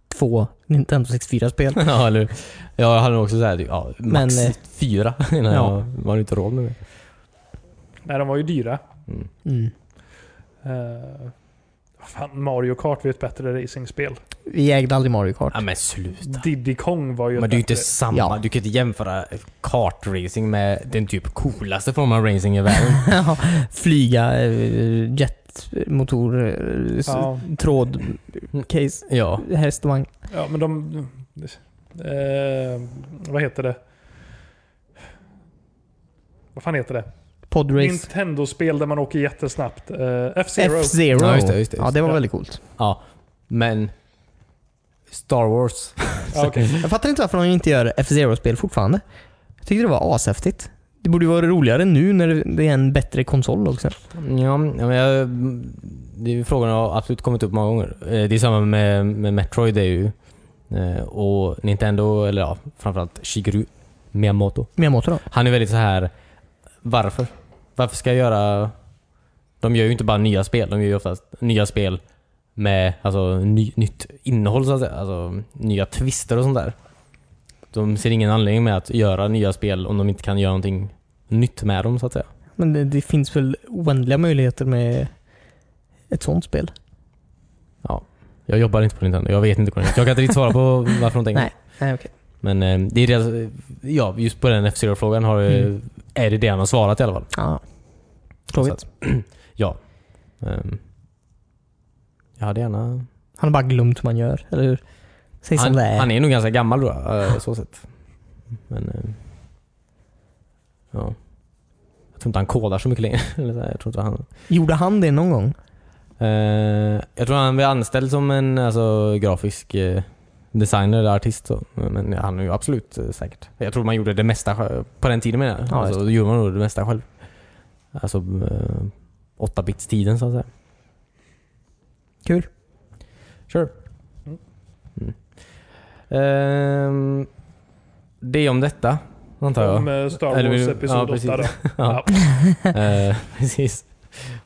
två Nintendo 64-spel.
<laughs> ja, eller hur? Jag hade nog också såhär, typ, ja, max
Men, eh,
fyra <laughs> innan
ja.
jag var inte råd med det.
Nej, de var ju dyra.
Mm.
Mm.
Eh, vad fan, Mario Kart var ju ett bättre racingspel.
Vi ägde aldrig Mario Kart.
Ja, men sluta.
Diddy Kong var ju
Men
ett
det är ju inte
bättre.
samma.
Ja.
Du kan inte jämföra kartracing med den typ coolaste formen av racing i världen.
<laughs> Flyga, eh, jetmotor, eh, s-
Ja.
tråd,
Mm.
case,
<laughs> ja.
häst och vagn.
Ja, men de... Eh, vad heter det? Vad fan heter det?
Podrace.
Nintendo-spel där man åker jättesnabbt. Eh, F-Zero.
F-Zero.
Ja, just det, just det,
Ja,
just
det var
det.
väldigt coolt.
ja. Men Star Wars. <laughs>
Ja, okej.
Jag fattar inte varför de inte gör F-Zero-spel fortfarande. Jag tyckte det var ashäftigt. Det borde ju vara roligare nu när det- det är en bättre konsol också.
Ja, men jag, det är ju frågan har absolut kommit upp många gånger. Eh, Det är samma med, med Metroid. Det är ju, eh, och Nintendo, eller ja, framförallt Shigeru Miyamoto.
Miyamoto då?
Han är väldigt så här varför? Varför ska jag göra... De gör ju inte bara nya spel. De gör ju oftast nya spel med alltså, ny, nytt innehåll så att säga. Alltså nya twister och sånt där. De ser ingen anledning med att göra nya spel om de inte kan göra någonting nytt med dem så att säga.
Men det, det finns väl oändliga möjligheter med ett sånt spel?
Jag jobbar inte på Nintendo. Jag vet inte. Jag kan inte riktigt svara
<laughs>
på varför de tänker.
Nej. Nej, okej.
Men eh, det är deras, ja, just på den F-Zero-frågan har, eh,
Mm.
är det det han har svarat i alla fall.
Ja. Tråkigt.
Ja. Ehm, jag hade gärna...
Han har bara glömt hur man gör, eller hur? Säg som
Han,
det är.
han är nog ganska gammal då, eh, så sett. Men... eh, ja. Jag tror inte han kodar så mycket längre. <laughs> Eller så här, jag tror inte han...
Gjorde han det någon gång?
Eh, jag tror han blev anställd som en alltså, grafisk eh, designer eller artist. Så. Men han är ju absolut eh, säkert. Jag tror man gjorde det mesta själv. På den tiden menar jag.
Ja,
alltså,
just
då gjorde man nog det mesta själv. Alltså eh, 8-bits-tiden så att säga.
Kul.
Sure.
Mm.
Mm. Ehm, det om detta, antar jag.
Om eh, Star
Eller vill-
Wars
ja,
Episod
precis.
8 då.
<laughs> Ja.
Ja.
Eh, precis.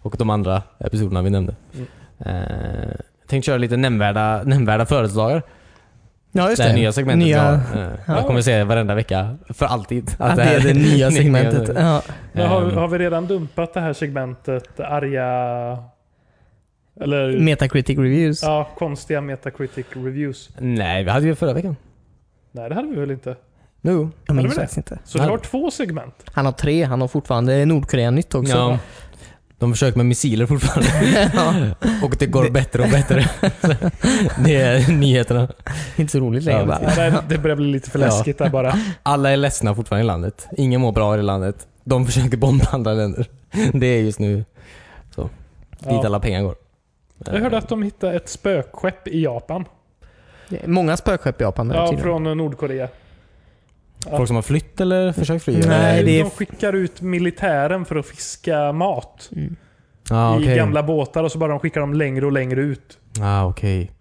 Och de andra episoderna vi nämnde.
Mm.
Eh, tänkte köra lite nämnvärda, nämnvärda födelsedagar.
Ja, just
Det här nya segmentet.
Nya-
vi har. Eh, Jag
Ja.
kommer säga varenda vecka för alltid.
Att
<laughs>
det är det nya segmentet. Ja.
Men har,
Ehm,
har vi redan dumpat det här segmentet arga... Eller
Metacritic Reviews.
Mm. ja, konstiga Metacritic Reviews?
Nej, vi hade ju förra veckan.
Nej, det hade vi väl inte?
Jo.
Jag
Hade vi
minns
det?
faktiskt inte.
Så
Nej.
du har två segment?
Han har tre. Han har fortfarande Nordkorea-nytt också.
Ja, de försöker med missiler fortfarande.
<laughs> Ja,
Och det går bättre och bättre. det är nyheterna.
inte så roligt längre
Ja,
bara.
Nej, det- det börjar bli lite för
Ja.
läskigt där
<laughs>
bara.
Alla är ledsna fortfarande i landet. Ingen mår bra i det landet. De försöker bomba andra länder. Det är just nu dit
Ja.
alla pengar går.
Jag hörde att de hittade ett spökskepp i Japan.
Det är Många spökskepp i Japan nu
Ja,
tydligen.
från eh, Nordkorea.
Folk som har flytt eller försökt fly?
Nej,
eller?
det är-
De skickar ut militären för att fiska mat
Mm.
ah, okej.
i gamla båtar och så bara de skickar dem längre och längre ut.
Ah, okej.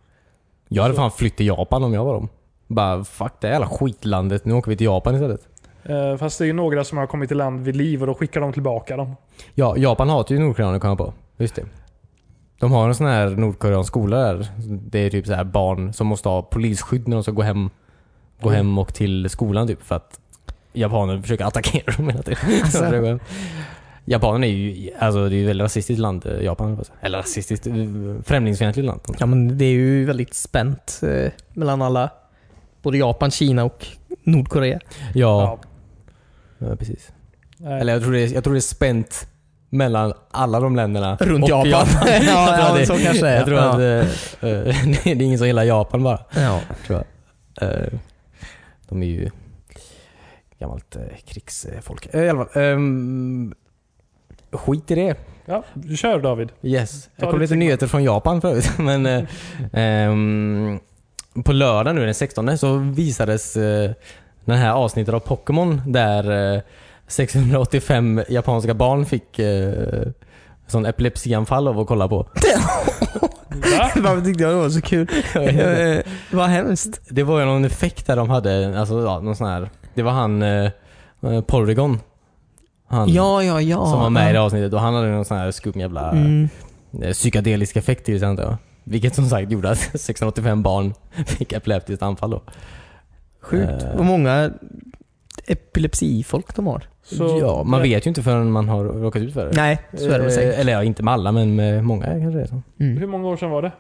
Jag hade
Så-
fan flytt till Japan om jag var dem. Bara fuck det här jävla skitlandet. Nu åker vi till Japan istället.
Eh, Fast det är ju några som har kommit till land vid liv och då skickar de tillbaka dem.
Ja, Japan hatar ju Nordkoreaner kommer jag på. Just det. De har en sån här Nordkoreansk skola där. Det är typ så här barn som måste ha polisskydd när de ska gå hem. Gå
Mm.
hem och till skolan typ för att japaner försöker attackera dem hela tiden. <laughs>
Alltså.
Alltså. Japanerna är ju, alltså det är ju väldigt rasistiskt land, eh, Japan. alltså. Eller rasistiskt, eh, främlingsfientligt land.
Ja, men det är ju väldigt spänt eh, mellan alla. Både Japan, Kina och Nordkorea.
Ja, ja precis.
Nej.
Eller jag tror, det är, jag tror det är spänt mellan alla de länderna.
Runt
och
Japan. <laughs> ja,
Jag tror
ja,
att det-
så kanske det är.
Jag tror
ja.
att eh, eh, <laughs> det är ingen som gillar Japan bara.
Ja.
Tror jag. Eh, de är ju gammalt eh, krigsfolk. Eh, I alla fall, ehm, skit i det.
Ja, kör David.
Yes.
Ta
Jag kom
ditt
lite
segment.
nyheter från Japan förut. <laughs> Men, eh, ehm, på lördag nu den 16 så visades eh, den här avsnittet av Pokémon där eh, 685 japanska barn fick eh, sån epilepsianfall av att kolla på.
Va?
<laughs> Varför tyckte jag det var så kul? Eh, Vad hemskt.
Det var ju någon effekt där de hade, alltså ja, någon sån här. Det var han eh, eh, Polygon. Han
Ja, ja, ja.
som var med i det avsnittet och han hade någon sån här skum jävla
Mm.
eh, psykedelisk effekt i det antar jag. Vilket som sagt gjorde att <laughs> 685 barn <laughs> fick epileptiskt anfall då.
Sjukt.
Eh.
Vad många epilepsifolk de har.
Så- Eh,
ja, man vet ju inte förrän man har råkat ut för det.
Nej, så är det väl säkert. Mm.
Eh, Eller ja, inte med alla men med många kanske det är så.
Hur många år sedan var det?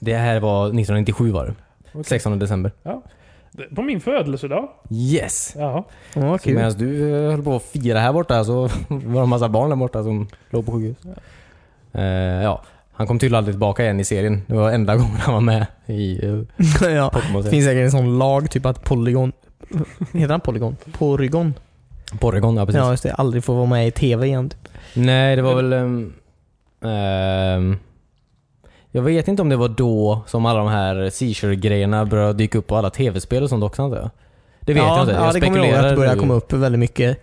Det här var 1997 var det.
Okej.
16 december.
Det- På min födelsedag?
Yes!
Ja.
Ja, vad kul.
Medan du eh, höll på att fira här borta så <laughs> var det en massa barn där borta som låg på sjukhus. Eh, ja. Han kom tydligen aldrig tillbaka igen i serien. Det var enda <laughs> gången han var med i uh,
<laughs> ja. Det
Pokémon-serien.
finns säkert en sån lag, typ att Polygon... Heter han Polygon? Porygon?
Porygon, ja precis.
Ja, just det. Aldrig får vara med i TV igen. typ.
Nej, det var väl... ehm, ehm, jag vet inte om det var då som alla de här seizure-grejerna började dyka upp på alla tv-spel och sånt också antar jag. Det vet
ja,
jag inte.
Ja,
jag
det kommer jag ihåg att det börjar
nu.
komma upp väldigt mycket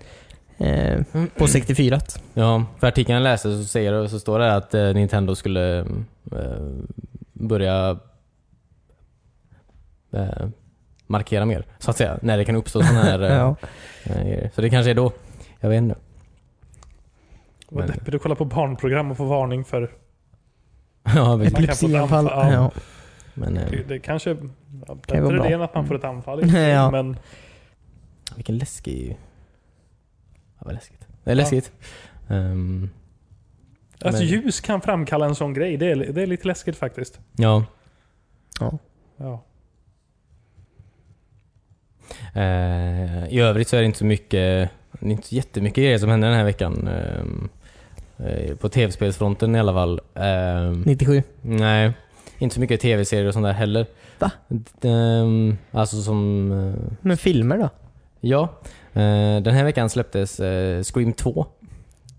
eh,
Mm.
på 64.
Ja, för artikeln jag läste så, säger, så står det att eh, Nintendo skulle eh, börja eh, markera mer, så att säga. När det kan uppstå sådana
<laughs>
här eh,
Ja.
eh, grejer. Så det kanske är då. Jag vet inte. <laughs>
Vad
Men-
deppigt att kolla på barnprogram och få varning för...
ja,
Man kan
precis.
få ett
Epilepsianfall.
anfall.
Ja.
Men
Det,
eh,
det kanske... Ja,
vara
bättre
bra.
det än att man får ett anfall.
Ja.
Men
vilken läskig... Ja, vad läskigt. Det är läskigt. Ehm,
alltså,
Men-
ljus kan framkalla en sån grej. Det är, det är lite läskigt faktiskt.
ja.
Ja.
Eh, I övrigt så är det inte så mycket, det är inte så jättemycket grejer som händer den här veckan. ehm, eh, på tv-spelsfronten i alla fall. Ehm,
97.
Nej, inte så mycket tv-serier och sånt där heller.
Va?
D- ehm, alltså som... eh,
Men filmer då?
ja. Eh, den här veckan släpptes eh, Scream 2.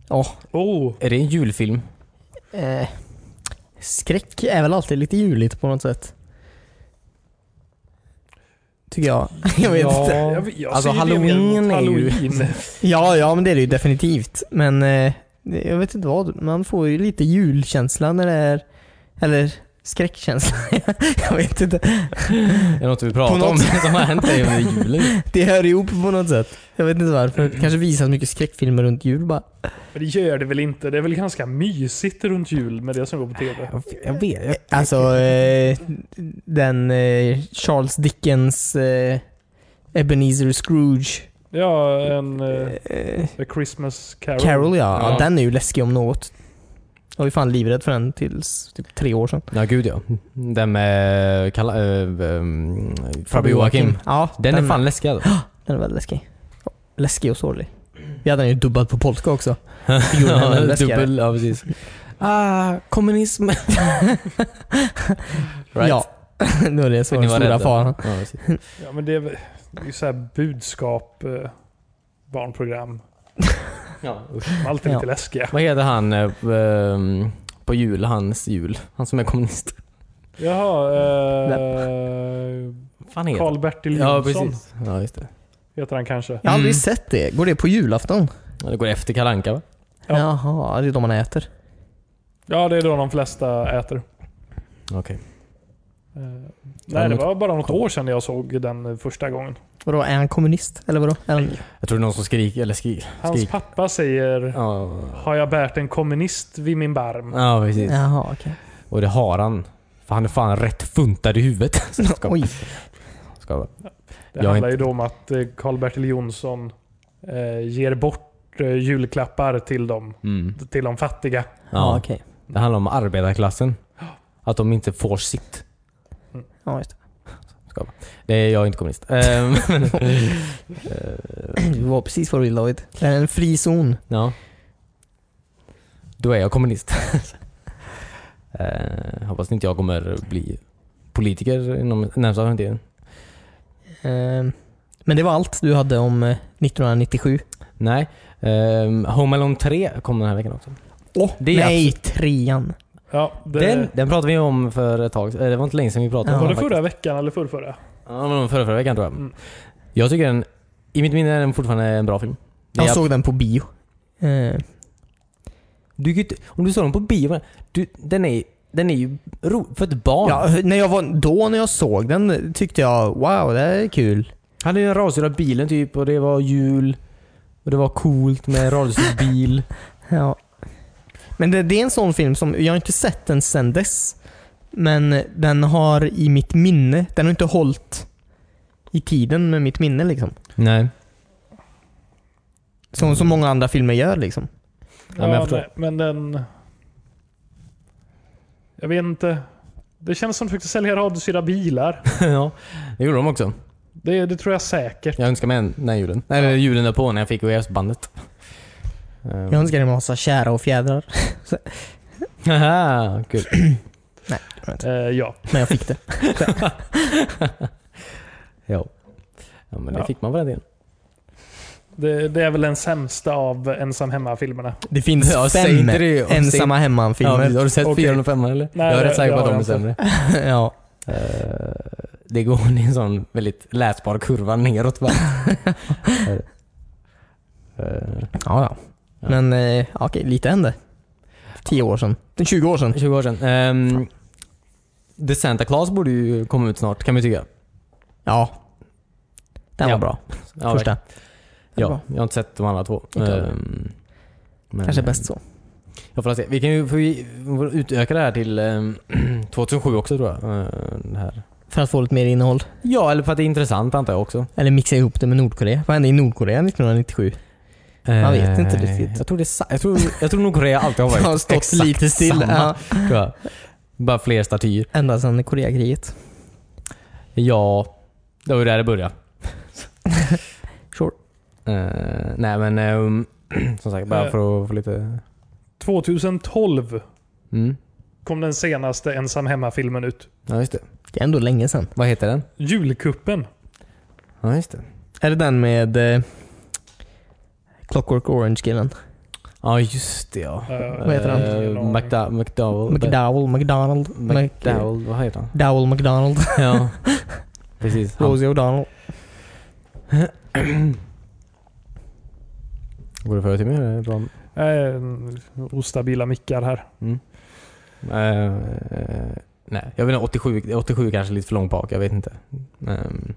Oh,
Är det en julfilm?
Eh, skräck är väl alltid lite juligt på något sätt. Tycker jag. Jag vet
Ja.
inte.
jag, jag
Alltså,
ser ju det mer
Halloween
mot
är ju-
Halloween.
Ja, ja men det är det ju definitivt. Men eh, det- jag vet inte vad. Man får ju lite julkänsla när det är... Eller skräckkänsla. <laughs> jag vet inte.
Är det något vi pratar
På
om <laughs>
något-
som har hänt dig under julen?
Det hör ihop på något sätt. Jag vet inte varför.
Mm.
Det kanske visas mycket skräckfilmer runt jul bara.
Men det gör det väl inte? Det är väl ganska mysigt runt jul med det som går på TV?
Jag vet. Jag...
Alltså eh, den eh, Charles Dickens eh, Ebenezer Scrooge
Ja, en eh,
eh,
A Christmas Carol.
Carol ja. ja.
Ja.
Den är ju läskig om något. Jag var ju fan livrädd för den tills typ tre år sedan.
Ja, gud ja. Den med Kalla, eh, ehm, Farbror Joakim.
Ja,
Den är fan läskig alltså.
Den är väldigt läskig. Läskig och sorglig. Vi hade den ju dubbad på polska också. Gjorde
<laughs>
den
Ja,
ännu läskigare.
Dubbel, ja precis. Ah, <laughs> kommunism. right.
Ja. <laughs> Då är det så
Ni
den
var
stora
rädda.
faran.
Ja, precis.
Ja, men det är, väl- det är ju så här budskap, eh, barnprogram.
<laughs> Ja, usch.
De är alltid
Ja.
lite läskiga.
Vad heter han eh, p- ehm, på jul, hans jul? Han som är kommunist.
Jaha, eh,
Vad fan heter han?
Karl-Bertil
Ja,
Jonsson
precis. Ja, just det.
heter han kanske.
Jag har aldrig
Mm.
sett det. Går det på julafton?
Ja, det går efter Kalle Anka va?
Ja.
Jaha, det är då man äter.
Ja, det är då de flesta äter.
Okej.
Eh, nej, det var bara något år sedan jag såg den första gången.
Vadå, är han kommunist? Eller vadå? Är han...
Jag tror det är någon som skriker, eller skriker.
Hans
Skrik.
pappa säger
Ja,
Har jag bärt en kommunist vid min barm?
ja precis.
Jaha, okej.
Och det har han. För han är fan rätt funtad i huvudet. <laughs> Ska,
Oj.
ska vara.
Det
Jag har
handlar ju då om att eh, Karl-Bertil Jonsson eh, ger bort eh, julklappar till de,
Mm.
till de fattiga.
Ja,
Ja,
okej.
Det handlar om arbetarklassen. Att de inte får sitt.
Ja, just
Det är jag
<laughs>
inte kommunist. Ehm,
det. Du var precis vad du ville David. Det är en frizon.
Ja. Då är jag kommunist. <laughs> eh, hoppas inte jag kommer bli politiker inom närmsta framtiden.
Ehm, Men det var allt du hade om eh, 1997.
Nej. Ehm, Home Alone 3 kom den här veckan också.
Oh,
det är
nej, trean.
Ja, det,
Den, den pratade vi om för ett tag eh, Det var inte länge sedan vi pratade
Ja.
om
var det
den
förra
faktiskt.
veckan eller förrförra?
Ja, det var nog förra, förra veckan tror jag.
Mm.
Jag tycker den, i mitt minne är den fortfarande en bra film. Det
Jag
är
såg den på bio. Eh,
Du, kan ju inte- om du såg den på bio, du, den, är, den är ju ro, för ett barn.
ja, när jag var, då när jag såg den eh, tyckte jag wow, det här är kul.
Han är ju en radiostyrd bilen typ och det var jul. Och det var coolt med radiostyrd bil.
Ja. Men det, det är en sån film som, jag har inte sett den sen dess. Men eh, den har i mitt minne, den har inte hållit i tiden med mitt minne liksom.
<laughs> Nej.
Som så många andra filmer gör liksom.
men jag
Ja,
förstår.
nej, men den... Jag vet inte. Det känns som att de försökte sälja radiostyrda bilar.
<laughs> ja, det gjorde de också.
Det, det tror jag säkert.
Jag önskar mig en- den här julen. Nej, eller julen därpå när jag fick VHS-bandet.
Jag önskar en massa kära och fjädrar.
Haha, kul.
Eh, ja.
Men jag fick det.
ja. ja, men det
Ja.
fick man på den tiden.
Det, det är väl den sämsta av ensam hemma-filmerna.
<laughs> Det finns
Ja, säg
fem
inte det. Och säg-
ensamma
Ja,
hemman-filmer.
precis. har du sett
Okej.
4 och 5 eller?
Nej,
jag är rätt
jag-
säker på
jag
att de
har
är sämre.
<laughs> ja.
Eh, det går i en sån väldigt läsbar kurva neråt <laughs> bara. Eh,
Ja, ja. Men eh, ja, okej, lite hände. Tio år sedan. 20 år sedan.
20 år sedan. Ehm, The Santa Claus borde ju komma ut snart kan man ju tycka.
Ja. Den
Ja.
var bra.
Ja,
Första. Den var
Ja,
bra.
jag har inte sett de andra två.
Inte jag.
Ehm, men-
Kanske bäst så.
Jag får se. Vi kan ju får vi får utöka det här till ehm, <clears throat> 2007 också tror jag. Ehm, det här.
För att få lite mer innehåll.
Ja, eller för att det är intressant antar jag också.
Eller mixa ihop det med Nordkorea. Vad hände i Nordkorea 1997? Man vet inte
Ehm,
riktigt.
Jag tror, det är, sa- jag tror, jag tror nog Korea alltid har
<laughs> <laughs> Det
varit
har stått
exakt
lite still.
samma,
Ja,
tror jag. Bara fler statyer.
ända sedan Koreakriget.
Ja, det var ju där det började.
<laughs> Sure.
Ehm, nej men ehm, <clears throat> som sagt, bara
Eh.
för att få lite...
2012
Mm.
kom den senaste ensam hemma-filmen ut.
Ja, just det.
Det är ändå länge sedan.
Vad heter den?
Julkuppen.
Ja, just det.
Är det den med eh, Clockwork Orange-killen?
Ja, just det ja.
Eh,
Vad heter han?
Eh, McDa- McDowell.
McDowell, McDonald, McDowell,
McDowell, vad
<laughs>
heter han?
Dowell McDonald,
Ja, precis. Han.
Rosie O'Donnell.
Går det för till mig? Det är bra.
Eh, ostabila mickar här.
Eh, eh, nej, jag vet inte. 87, 87 kanske är lite för långt bak. Jag vet inte. Ehm,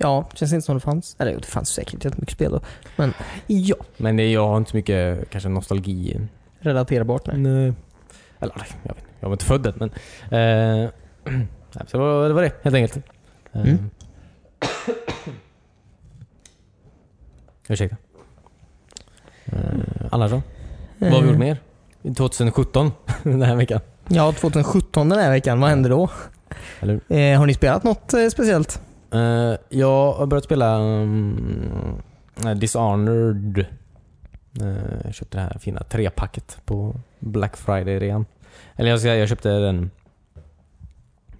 Ja, känns inte som det fanns. Eller jo, det fanns säkert jättemycket spel då. Men ja,
men det, jag har inte så mycket kanske nostalgi.
relaterbart. Nej.
Eller nej, jag vet inte. Jag var inte född än men. eh, <clears throat> nej, så det var, det var det helt enkelt. Ehm.
Mm.
<clears throat> Ursäkta. Uh, annars då? Vad
Eh.
har vi gjort mer? 2017, <laughs> den här veckan.
Ja, 2017 den här veckan. Vad hände då?
Eller
Eh, har ni spelat något eh, speciellt?
Eh, jag har börjat spela um, Dishonored. Eh, jag köpte det här fina trepacket på Black Friday rean. Eller jag ska säga, jag köpte den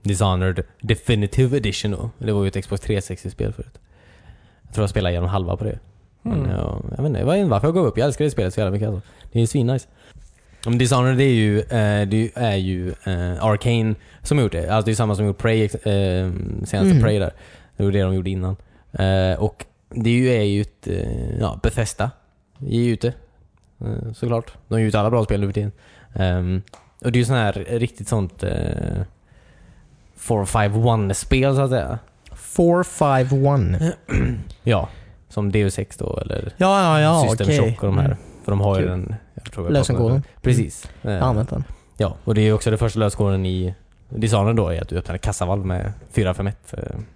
Dishonored Definitive Edition då. Det var ju ett Xbox 360-spel förut. Jag tror jag spelade genom halva på det. Men jag, jag vet inte, jag vet inte varför jag gav upp. Jag älskar det spelet så jävla mycket alltså. Det är svinnice. Men Dishonored det är ju, eh, det är ju eh, Arcane som har gjort det. Alltså det är samma som gjort Prey, eh, senaste
Mm.
Prey där. Det var det de gjorde innan. Eh, och det är ju, är ju ett, eh, ja, Bethesda ger ju ut det. Eh, såklart. De ger ut alla bra spel nu för tiden. Ehm, och det är ju sån här riktigt sånt eh, 4-5-1 spel så att säga.
451.
Eh, Ja. Som Deus Ex då eller
Ja, ja, ja.
System
okej.
Shock och de här.
Mm.
För de har ju
Kul.
den... Jag tror jag
Lösenkoden.
pratade om det. Precis.
Jag
Eh,
har använt den.
Ja, och det är ju också det första lösenkoden i Dishonored då, är att du öppnar en kassavalv med 451-koden.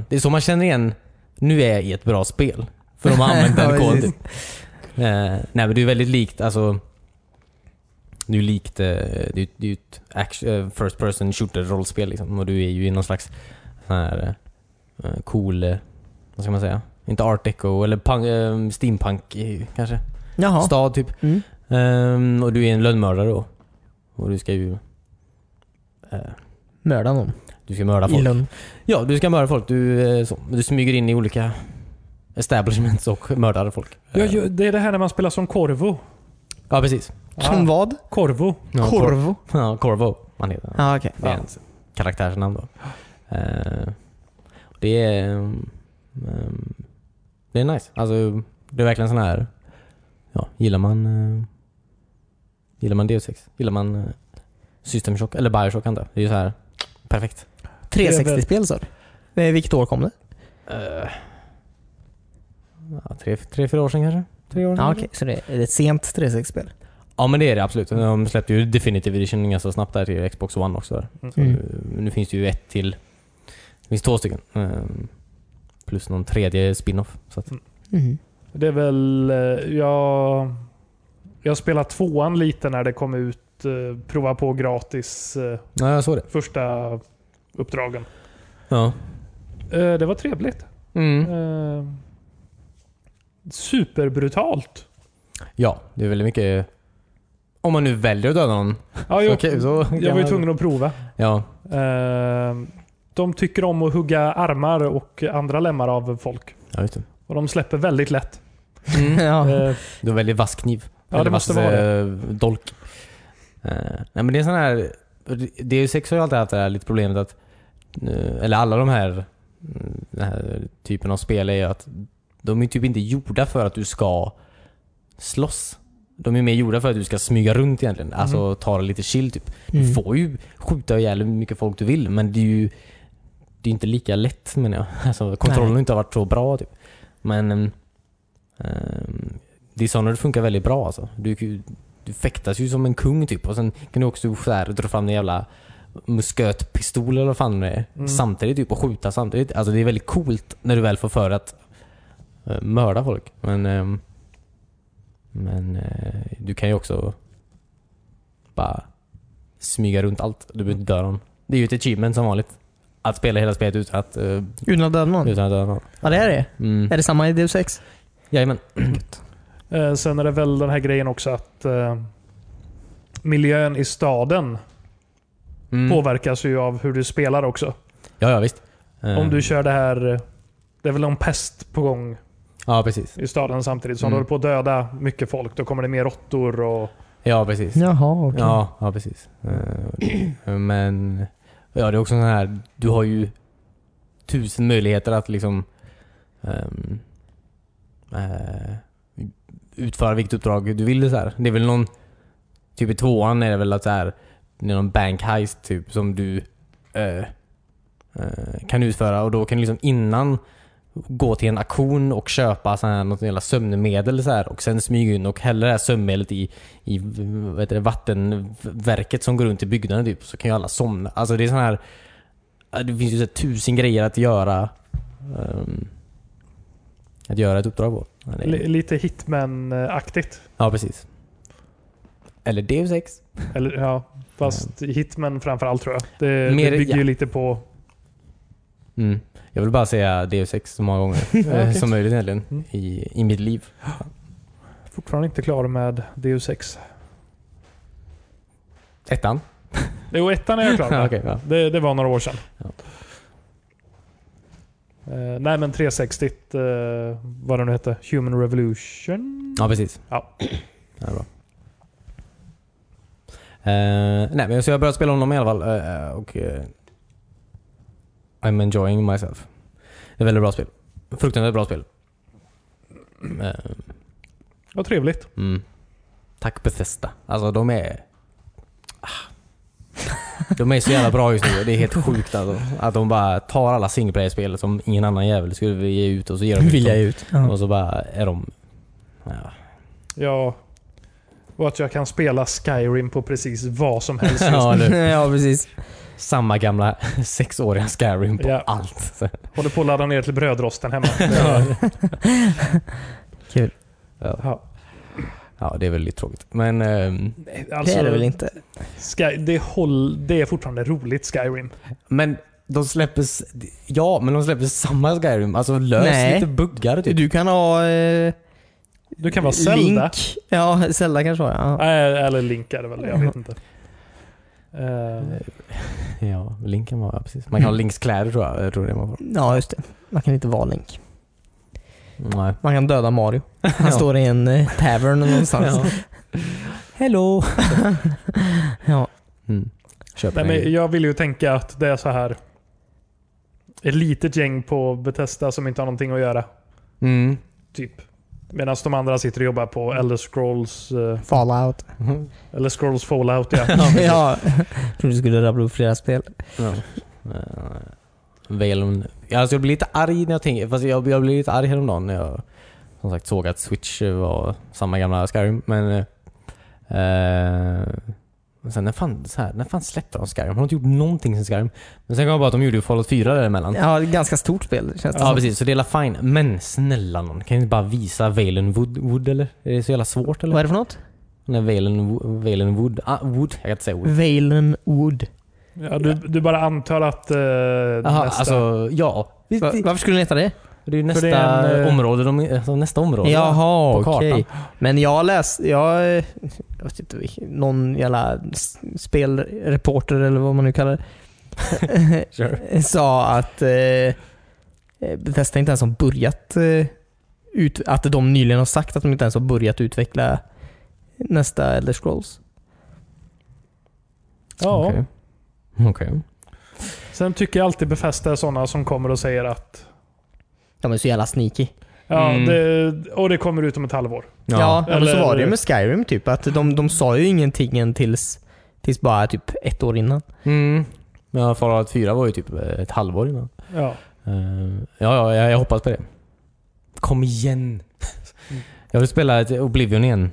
Aha.
Det är så man känner igen, nu är jag i ett bra spel. För de har
<laughs>
använt
Ja,
den koden.
precis.
Eh, nej men det är väldigt likt, alltså det är ju likt, eh, det är ju- det är ju ett action, eh, first person shooter rollspel liksom. Och du är ju i någon slags sån här eh, cool, eh, vad ska man säga? Inte art deco eller punk, eh, steampunk eh, kanske?
Jaha.
Stad typ.
Mm.
Ehm, och du är en lönnmördare då. Och du ska ju... eh,
Mörda någon.
du ska mörda
I
folk.
Lund.
Ja, du ska mörda folk. Du, eh, så, du smyger in i olika establishments och mördar folk.
Ja,
Eh,
ja, det är det här när man spelar som Corvo.
ja precis. <laughs>
Som Ah. vad?
Corvo.
Ja, Cor-
Korvo.
ja, Corvo. Man heter han.
Ja, okej.
Det är hans karaktärsnamn då. Eh, och det är... eh, Ehm, Det är nice. Alltså, det är verkligen sån här... Ja, gillar man... eh, Gillar man DO6? Gillar man eh, System Shock? Eller Bioshock antar jag. Det är ju så här perfekt.
360-spel sa du? Eh, Vilket år kom det?
Eh, Ja, tre, tre, fyra år sedan kanske? Tre år sedan
Ja,
kanske?
Ah, okej. Så det är ett sent 360-spel.
Ja men det är det absolut. De släppte ju Definitive Edition ganska snabbt där till Xbox One också. Där. Så,
Mm.
eh, Nu finns det ju ett till. Det finns två stycken. Ehm, Plus någon tredje spin-off. Så att,
Mm.
Det är väl... eh, Jag, jag spelade tvåan lite när det kom ut. eh, Prova på gratis eh,
ja, jag såg det.
första uppdragen.
Ja.
Eh, Det var trevligt.
Mm.
Eh, Superbrutalt.
Ja, det är väldigt mycket... Om man nu väljer att döda någon.
Ja,
Så,
jag,
okej, så kan
jag var ju
man-
tvungen att prova.
Ja.
Eh, De tycker om att hugga armar och andra lemmar av folk.
Ja, just det.
Och de släpper väldigt lätt.
Mm.
<laughs> Ja.
Eh,
Du har väldigt vass kniv.
Ja, det
Eller
måste
vass,
vara
eh, dolk. Eh, nej, men det är sån här... DU6 har ju alltid haft det här lite problemet att... eh, eller alla de här... mm, Den här typen av spel är ju att de är typ inte gjorda för att du ska slåss. De är mer gjorda för att du ska smyga runt egentligen.
Mm.
Alltså ta det lite chill typ. Du
Mm.
får ju skjuta ihjäl hur mycket folk du vill men det är ju det är inte lika lätt menar jag. <laughs> Alltså, kontrollen
Nej.
har inte varit så bra. Typ. Men ehm, um, Dishonored funkar väldigt bra alltså. Du, kan ju- du fäktas ju som en kung typ och sen kan du också så här, dra fram din jävla muskötpistol eller vad fan det är.
Mm.
Samtidigt typ och skjuta samtidigt. Alltså det är väldigt coolt när du väl får för att eh, mörda folk. Men, ehm, men eh, du kan ju också bara smyga runt allt. Du behöver inte döda någon. Det är ju ett achievement som vanligt. Att spela hela spelet utan att, eh,
Mm.
Utan att döda någon?
utan att döda någon.
Ja, det är det.
Mm.
Är det samma i Deus Ex?
Jajamän.
Eh, Sen är det väl den här grejen också att eh, miljön i staden
Mm.
påverkas ju av hur du spelar också.
Ja, ja visst. Eh,
Om du kör det här... eh, Det är väl någon pest på gång
Ja, precis.
i staden samtidigt. Så om
Mm.
du håller på att döda mycket folk, då kommer det mer råttor och...
Ja, precis.
Jaha, okej.
Ja, ja precis. Eh, <clears throat> Men ja, det är också den här, du har ju tusen möjligheter att liksom ehm, eh, utföra vilket uppdrag du vill. Så här. Det är väl någon, typ i tvåan är det väl att så här, det är någon bank heist typ som du eh, eh, kan utföra och då kan du liksom innan gå till en auktion och köpa sån här, något jävla sömnmedel så här, och sen smyga in och hälla det här sömnmedlet i, i vad heter det, vattenverket som går runt i byggnaden typ. Så kan ju alla somna. Alltså det är sån här... Det finns ju så här, tusen grejer att göra. ehm, att göra ett uppdrag på. Ja, det är-
Li- Lite Hitman-aktigt.
Ja, precis. Eller DU6.
Eller, ja, fast Hitman framförallt tror jag. Det,
Mer-
det bygger
ja.
ju lite på...
Mm. Jag vill bara säga DU6 så
<laughs>
många gånger eh,
okej.
som möjligt egentligen.
Mm.
I, I mitt liv.
Fortfarande inte klar med DU6.
Ettan.
Jo, ettan är jag
<laughs>
klar med.
Okej, ja.
det, det var några år sedan.
Ja.
Eh, nej, men 360, eh, vad det nu hette, Human Revolution?
Ja, precis.
Ja.
<clears throat> Ja, bra. Eh, nej, men så jag började spela om dem i alla fall. eh, och, eh, I'm enjoying myself. Det är väldigt bra spel. Fruktansvärt bra spel. Eh,
Vad trevligt.
mm. Tack Bethesda. Alltså de är... Ah. De är så jävla bra just nu. Det är helt sjukt alltså. Att de bara tar alla single player-spel som ingen annan jävel skulle vilja ge ut och så ger de ut
Vill jag
dem.
ut. Ja.
Och så bara är de... Ja,
Ja, och att jag kan spela Skyrim på precis vad som helst.
<laughs>
Ja, eller hur?
ja, precis.
samma gamla <laughs> sexåriga Skyrim på
Ja.
allt. Så.
Håller på att ladda ner till brödrosten hemma.
Kul.
Ja.
Ja, det är väldigt tråkigt. Men ehm,
Nej,
det
Alltså,
är det
det,
väl inte?
Sky, det, håll, det är fortfarande roligt Skyrim.
Men de släpper... s- Ja, men de släpper samma Skyrim. Alltså lös
Nej.
lite buggar typ.
Du kan ha... Eh,
Du kan vara Zelda.
Link. Ja, Zelda kanske var ja.
Nej, Eller Link är det väl, jag vet inte. Eh,
Ja, linken var... Ja, precis. Man <clears throat> kan ha Links kläder tror jag. Jag tror det man får.
Ja, just det. Man kan inte vara Link.
Nej.
Man kan döda Mario.
<laughs>
Han
Ja.
står i en eh, tavern någonstans.
Ja.
<laughs> Hello! ja.
Mm. Köp
nej,
den.
men jag vill ju tänka att det är så här. ett litet gäng på Bethesda som inte har någonting att göra.
Mm.
Typ. Medan de andra sitter och jobbar på Elder Scrolls, eh,
Fallout.
Elder Scrolls Fallout.
<laughs>
Ja.
<laughs> ja. Jag trodde du skulle rabbla upp flera spel.
<laughs> Ja. Väl om... Alltså jag blir lite arg när jag tänker... Fast jag, jag blev lite arg häromdagen när jag som sagt såg att Switch eh, var samma gamla Skyrim. Men... eh, Eh, men sen när fan, så här, när fan släppte de Skyrim? Har de inte gjort någonting sen Skyrim? Men sen kom jag på att de gjorde ju Fallout 4 däremellan. Ja,
Ja, ett ganska stort spel känns det
ja
som.
precis. Så det är la fine. Men snälla någon, kan ni inte bara visa Valen Wood, Wood eller? Är det så jävla svårt eller?
Vad är det för något?
Nej, Valen, Wo- Valen Wood. Ah, Wood. Jag kan inte säga Wood.
Valen Wood.
Ja, du, du bara antar att eh,
Aha,
nästa...
alltså ja. Vi-
Va-
vi-
Varför skulle ni heta det?
Det är ju nästa
det är en, eh,
område, de, alltså nästa område
Jaha,
på kartan.
okej. Men jag läste, jag, eh, jag vet inte, vilken- någon jävla s- spelreporter eller vad man nu kallar det,
Sure.
sa att eh, Bethesda inte ens har börjat, eh, ut, att de nyligen har sagt att de inte ens har börjat utveckla nästa Elder Scrolls.
ja.
Okej. Okej.
Sen tycker jag alltid befästa sådana som kommer och säger att
De är så jävla sneaky.
ja,
Mm.
det, och det kommer ut om ett halvår.
Ja, ja men så
eller-
var det ju med Skyrim typ. Att de, de sa ju ingenting än tills, tills bara typ ett
<laughs>
år innan.
Mm. Ja, Fallout 4 var ju typ ett halvår innan.
Ja.
Eh, ja, ja, jag, jag hoppas på det. Kom igen! <laughs> Jag vill spela ett Oblivion igen.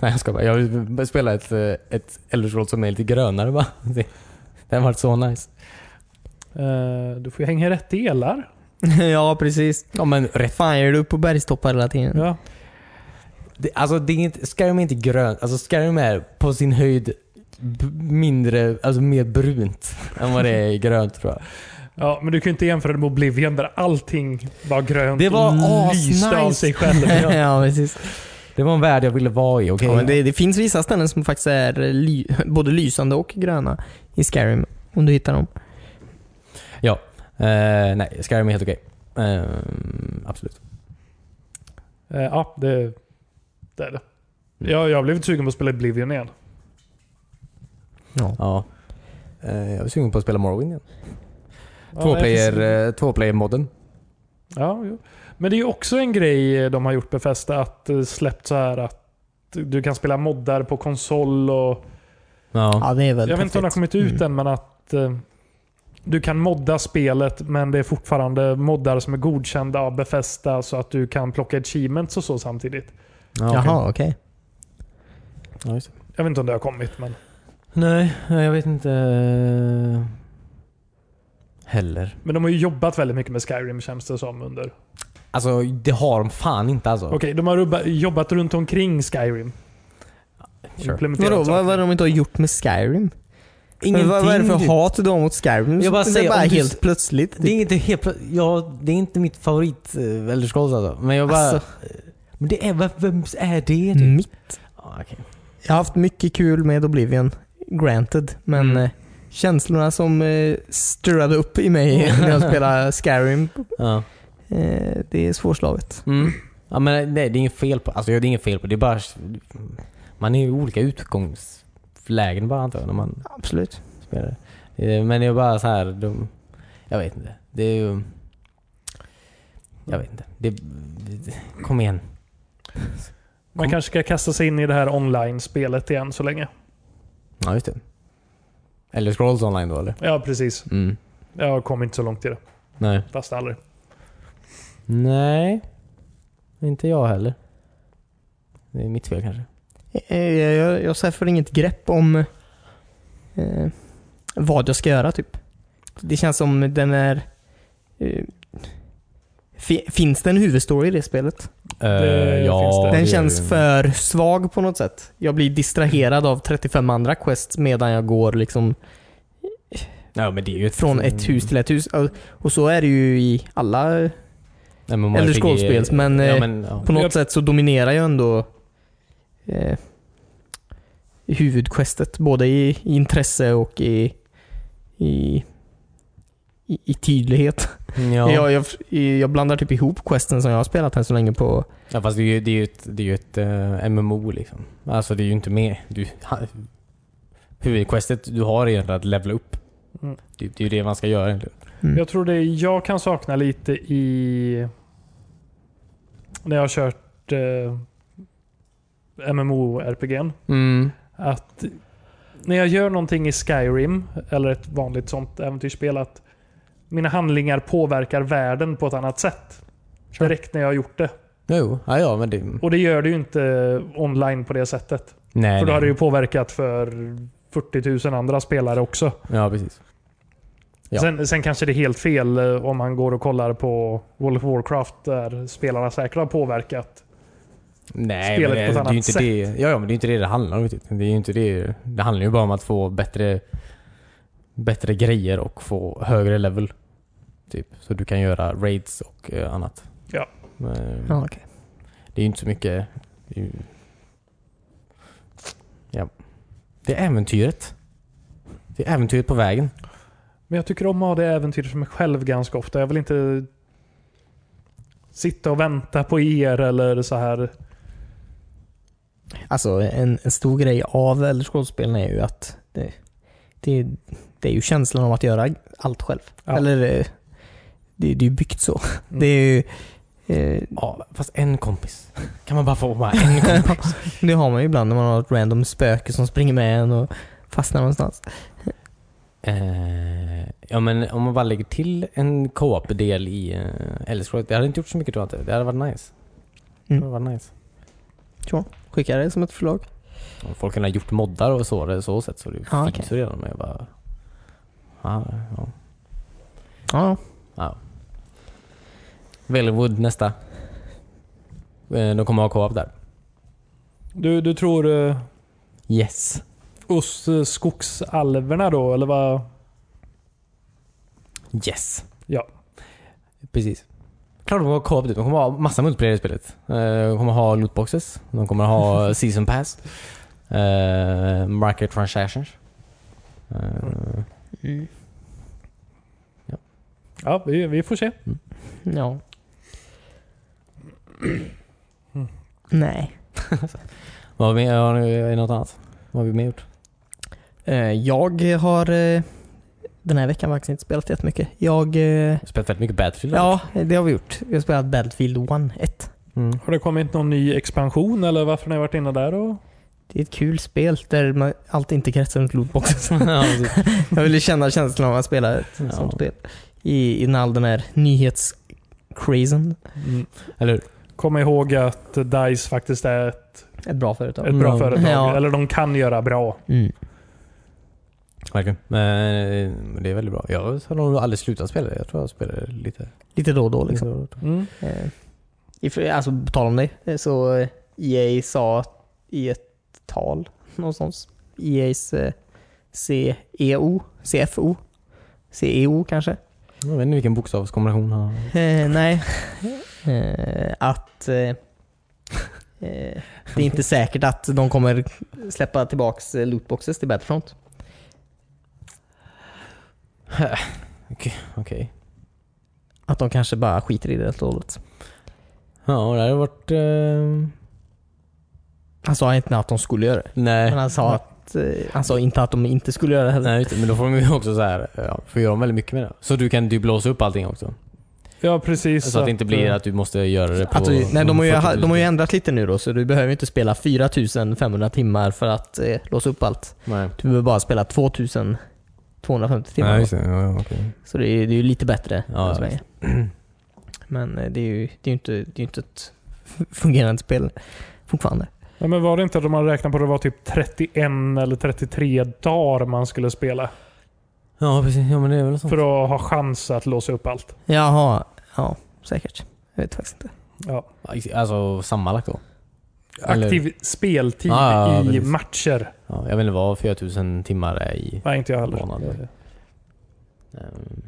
Nej, jag ska bara. Jag vill spela ett, eh, ett Elder Scrolls som är lite grönare bara. <laughs> Det, det har varit så nice.
Eh, du får ju hänga i rätt delar.
ja, precis.
Ja, men rätt.
Fan, jag är du uppe på bergstoppar hela tiden?
Mm.
Ja.
Det, alltså, det är inte, Skyrim är inte grönt. Alltså, Skyrim är på sin höjd b- mindre, alltså mer brunt <laughs> än vad det är i grönt tror jag.
Ja, men du kan ju inte jämföra det med Oblivion där allting var grönt
Det var
och lyste av
asnice.
sig
<laughs>
själv.
<laughs> Ja, precis.
Det var en värld jag ville vara i, okej?
Ja, men det, det finns vissa ställen som faktiskt är ly, både lysande och gröna i Skyrim. Om du hittar dem.
Eh, nej, Skyrim är helt okej. Eh, absolut.
Eh, ja, det, det är det. Jag, jag har blivit sugen på att spela Oblivion igen.
Ja.
Ja. Eh, jag är sugen på att spela Morrowind igen.
Ja, jag
Tvåplayer,
får se.
eh, Tvåplayer-modden.
Ja, jo. Men det är ju också en grej eh, de har gjort befästa att eh, släppt så här att du kan spela moddar på konsol och
Ja.
Ja, det är väl
Jag vet
perfekt.
inte om det har kommit ut
Mm.
än, men att eh, du kan modda spelet, men det är fortfarande moddar som är godkända av Bethesda så att du kan plocka achievements och så samtidigt.
Jaha, okej.
Ja, just det.
Jag vet inte om det har kommit, men
Nej, jag vet inte. eh, Heller.
Men de har ju jobbat väldigt mycket med Skyrim känns det som. under. Okej,
Alltså, det har de fan inte alltså.
de har rubba- jobbat runt omkring Skyrim.
Sure.
Implementerat
Vadå, vad,
saker.
vad de inte har gjort med Skyrim? Men
Ingenting. typ.
vad, vad är det för
du.
hat du har mot Skyrim?
Jag bara
det är
säger,
bara
om du-
helt plötsligt.
Det
typ.
är inte helt plö- ja, det är inte mitt favorit eh, Elder Scrolls alltså. Men jag bara...
Alltså.
Men det är, vad- vems är det? Mm.
Mitt. Jag har haft mycket kul med Oblivion, granted. Men
Mm.
eh, känslorna som eh, stirrade upp i mig
<laughs>
när jag spelade Skyrim,
Ja.
eh, det är svårslaget.
Mm. Ja, men nej, det är inget fel på alltså, det. är inget fel på det. det är bara, man är i olika utgångslägen bara antar jag när man
Absolut.
spelar. Eh, Men det är bara så här, de, jag vet inte. Det är ju... Jag vet inte. Det, det, kom igen.
Man kanske ska kasta sig in i det här online-spelet igen så länge.
Ja, just det. Eller Scrolls online då eller?
Ja, precis.
Mm.
Jag kom inte så långt i det.
Nej.
Fast aldrig.
Mm.
Nej. Inte jag heller. Det är mitt fel kanske.
Eh, jag, jag, jag sätter inget grepp om eh, vad jag ska göra typ. Det känns som den är... Eh, fi, finns det en huvudstory i det spelet?
Det
Eh, ja,
finns det.
det
Den
är
känns
ju-
för svag på något sätt. Jag blir distraherad av 35 andra quests medan jag går liksom
Ja, men det är ju ett,
från ett
Mm.
hus till ett hus. Och- Och så är det ju i alla...
Nej, men
Elder
RPG
Scrolls-spels, men,
Mm. Ja,
eh,
men, ja.
På något
Jag-
sätt så dominerar jag ändå eh, huvudquestet. Både i, i intresse och i, i, i, i tydlighet.
Ja.
Jag, jag, jag blandar typ ihop questen som jag har spelat än så länge på...
Ja fast det är ju, det är ju ett, det är ju ett eh, MMO liksom. Alltså det är ju inte med. Du, ha, huvudquestet du har är egentligen att levla upp.
Mm.
Det, det är ju det man ska göra egentligen.
Mm.
Jag tror det jag kan sakna lite i... När jag har kört eh, MMO-RPG.
Mm.
Att när jag gör någonting i Skyrim, eller ett vanligt sånt äventyrsspel, att mina handlingar påverkar världen på ett annat sätt.
Sure.
Direkt när jag har gjort det.
Jo, ja, ja men det...
Och det gör det ju inte online på det sättet.
Nej,
för då
nej.
har det ju påverkat för 40 000 andra spelare också.
Ja, precis. Ja.
Sen, sen kanske det är helt fel eh, om man går och kollar på World of Warcraft där spelarna säkert har påverkat.
Nej,
Spelet
men
på ett
det, det är
annat
ju inte
sätt.
det. Ja, ja, men det är inte det det handlar om riktigt. Det är ju inte det. Det handlar ju bara om att få bättre, bättre grejer och få högre level. Typ. Så du kan göra raids och eh, annat.
Ja.
Men,
Ja, okej.
Det är ju inte så mycket... Det är ju... Ja. Det är äventyret. Det är äventyret på vägen.
Men jag tycker om att ha det äventyret för mig själv ganska ofta. Jag vill inte sitta och vänta på er eller så här.
Alltså en, en stor grej av Elder Scrolls-spelen är ju att det, det, det är ju känslan av att göra allt själv.
Ja.
Eller eh, det, det är ju byggt så. Det är ju, eh,
Ja, fast en kompis. Kan man bara få bara en kompis?
<laughs> det har man ju ibland när man har ett random spöke som springer med en och fastnar någonstans.
eh, ja, men om man bara lägger till en co-op-del i eh, Elder Scrolls. Det hade inte gjort så mycket tror jag inte. Det hade varit nice.
Mm.
Det hade varit nice.
Skickar det som ett förslag.
Om folk kunde ha gjort moddar och så, det- så sätt så det
Ja,
finns
okej.
ju redan. Men jag bara... Ja, ja.
Ja,
ja. Velwood nästa. Eh, de kommer ha co-op där.
Du, du tror uh,
Yes.
oss eh, skogsalverna då, eller vad?
Yes.
Ja.
Precis. Klart de kommer ha co-op typ. De kommer ha massa multiplayer i spelet. Eh, De kommer ha lootboxes. De kommer ha season pass. Eh, Market transactions. Eh,
Ja, vi, vi får se.
<clears throat> ja. Nej.
vad har vi mer? Har ni- Är det något annat? Vad har vi mer gjort?
Eh, Jag har eh, den här veckan faktiskt inte spelat jättemycket. Jag... eh,
Vi har Spelat väldigt mycket Battlefield.
Ja, det har vi gjort. Vi har spelat Battlefield 1. 1.
Mm.
Har det kommit någon ny expansion eller varför ni har varit inne där? Och...
Det är ett kul spel där man, allt inte kretsar runt lootboxen. <laughs>
Ja, precis.
Jag ville känna känslan av att spela ett
Ja.
sånt spel. I, innan all den här nyhetscrazen.
Mm. Eller hur?
Kom ihåg att DICE faktiskt är ett,
Ett bra företag.
ett bra
Mm.
företag.
Ja.
Eller de kan göra bra.
Mm.
Verkligen. Men eh, det är väldigt bra. Jag har nog aldrig slutat spela det. Jag tror jag spelade lite.
Lite då och då liksom.
Mm.
Eh, if- alltså på tal om det, eh, så eh, EA sa i ett tal någonstans, EAs eh, E CEO, CFO, CEO E kanske,
Jag vet inte vilken bokstavskombination han har.
Eh, nej. Eh, att eh, eh, det är inte säkert att de kommer släppa tillbaks eh, lootboxes till Battlefront.
Okej.
Att de kanske bara skiter i det helt och hållet.
Ja, det hade varit... Eh,
Han sa inte att de skulle göra det.
nej.
Men han sa, att, eh, han sa inte att de inte skulle göra det heller.
Nej, just det. men då får de ju också så här, ja, får göra väldigt mycket med det. Så du kan du blåsa upp allting också.
Ja, precis.
Så att det inte blir
eh,
att du måste göra det på...
Att du, nej, de, har ju,
40 000.
de har ju ändrat lite nu då, så du behöver ju inte spela 4500 timmar för att eh, låsa upp allt.
Nej.
Du behöver bara spela 2250 timmar.
Nej, just det. Ja, ja, okej.
Så det är, det är ju lite bättre
Ja,
än
ja,
Sverige.
<clears throat>
Men eh, det är ju, det är ju inte, det är ju inte ett fungerande spel fortfarande.
Nej, men var det inte att man räknade på det var typ 31 eller 33 dagar man skulle spela?
ja, precis. Ja, men det är väl något sånt.
För att ha chans att låsa upp allt.
Jaha, ja säkert. Jag vet faktiskt inte.
Ja.
Alltså sammanlagt då? Eller- Ah,
Aktiv speltid
Ja, ja,
i
precis.
matcher.
Ja, jag vet inte vad 4000 timmar är i
Nej, inte jag heller.
månad. Ehm,